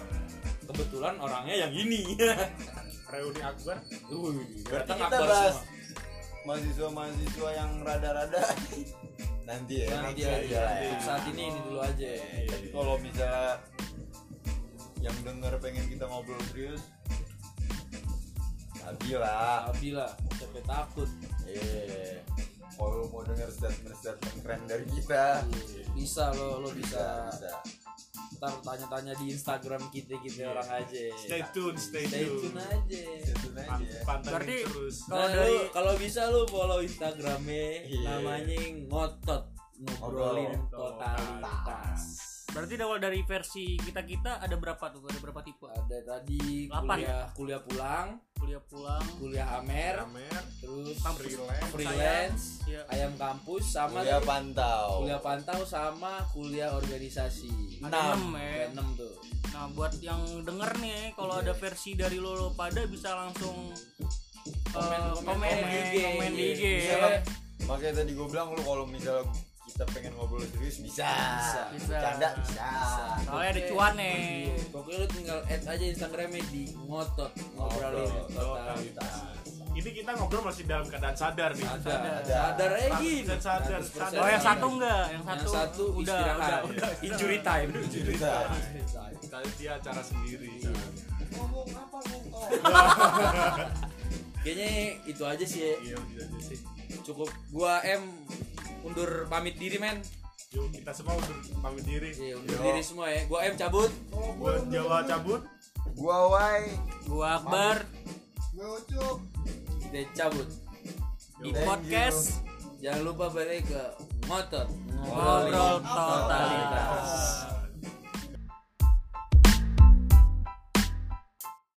[SPEAKER 2] Kebetulan orangnya yang ini.
[SPEAKER 3] reuni Akbar
[SPEAKER 2] Wih,
[SPEAKER 4] berarti
[SPEAKER 2] datang
[SPEAKER 4] kita bahas mahasiswa-mahasiswa yang rada-rada nanti ya
[SPEAKER 2] Nanti
[SPEAKER 4] next
[SPEAKER 2] aja.
[SPEAKER 4] aja lah ya.
[SPEAKER 2] Untuk saat ini ini dulu aja.
[SPEAKER 4] Tapi kalau misalnya yang denger pengen kita ngobrol serius Tapi lah
[SPEAKER 2] Bila capek takut.
[SPEAKER 4] eh kalau mau denger statement-statement keren dari kita
[SPEAKER 3] Iya.
[SPEAKER 2] Bisa lo lo bisa.
[SPEAKER 4] bisa
[SPEAKER 2] Ntar tanya-tanya di Instagram kita
[SPEAKER 4] Iya.
[SPEAKER 2] kita orang aja.
[SPEAKER 3] stay tune stay,
[SPEAKER 2] Stay tune aja.
[SPEAKER 4] itu aja
[SPEAKER 3] Pan- pantengin
[SPEAKER 5] Berarti-
[SPEAKER 3] terus Nah,
[SPEAKER 2] Kalau
[SPEAKER 5] Kalau
[SPEAKER 2] dari
[SPEAKER 5] dari-
[SPEAKER 2] kalau bisa lo follow Instagramnya
[SPEAKER 4] Iya.
[SPEAKER 2] namanya ngotot ngobrolin
[SPEAKER 4] Ngobrol.
[SPEAKER 2] totalitas.
[SPEAKER 5] Berarti awal dari versi kita kita ada berapa tuh? Ada berapa tipe?
[SPEAKER 2] Ada tadi
[SPEAKER 5] Delapan.
[SPEAKER 2] kuliah kuliah pulang,
[SPEAKER 5] Kuliah pulang,
[SPEAKER 2] kuliah amer,
[SPEAKER 3] Amer
[SPEAKER 2] terus
[SPEAKER 3] freelance
[SPEAKER 2] freelance,
[SPEAKER 5] Iya.
[SPEAKER 2] ayam kampus sama
[SPEAKER 4] kuliah
[SPEAKER 2] kuliah,
[SPEAKER 4] pantau
[SPEAKER 2] kuliah pantau sama kuliah organisasi.
[SPEAKER 5] ada enam ya.
[SPEAKER 2] Ada enam tuh.
[SPEAKER 5] Nah buat yang denger nih, kalau ada versi dari lo pada bisa langsung eh, komen, komen,
[SPEAKER 2] komen di IG.
[SPEAKER 5] di IG.
[SPEAKER 4] bisa lah makanya tadi gue bilang lu kalau misalnya kita pengen ngobrol serius bisa
[SPEAKER 2] Bisa.
[SPEAKER 5] Bisa.
[SPEAKER 4] bercanda bisa,
[SPEAKER 5] Soalnya ada
[SPEAKER 2] Oke.
[SPEAKER 5] cuan nih.
[SPEAKER 2] Iya, Pokoknya lu tinggal add aja Instagramnya di ngotot ngobrolin totalitas.
[SPEAKER 3] ini kita ngobrol masih dalam keadaan sadar nih
[SPEAKER 2] Ada,
[SPEAKER 4] Ada.
[SPEAKER 2] sadar aja gini.
[SPEAKER 3] dan sadar
[SPEAKER 2] 100%
[SPEAKER 3] sadar
[SPEAKER 5] Oh yang satu
[SPEAKER 2] Yang
[SPEAKER 5] enggak? Yang satu,
[SPEAKER 2] Yang satu
[SPEAKER 5] udah,
[SPEAKER 2] istirahat.
[SPEAKER 5] udah, udah.
[SPEAKER 2] Injury time.
[SPEAKER 4] bisa.
[SPEAKER 3] Kali dia acara sendiri
[SPEAKER 6] Ngomong apa ngomong?
[SPEAKER 2] Kayaknya itu aja sih. ya.
[SPEAKER 3] iya gitu aja sih
[SPEAKER 2] Cukup gua M undur pamit diri men.
[SPEAKER 3] yuk kita semua untuk pamit diri
[SPEAKER 2] Iya, undur diri semua ya. Gua M cabut.
[SPEAKER 3] buat Jawa cabut
[SPEAKER 4] gua wai
[SPEAKER 5] Gua Akbar
[SPEAKER 6] Gue ucup.
[SPEAKER 2] Kita cabut.
[SPEAKER 5] di
[SPEAKER 4] Thank you.
[SPEAKER 5] podcast
[SPEAKER 2] Jangan lupa balik ke ngotot.
[SPEAKER 5] ngobrol totalitas.
[SPEAKER 3] Oh.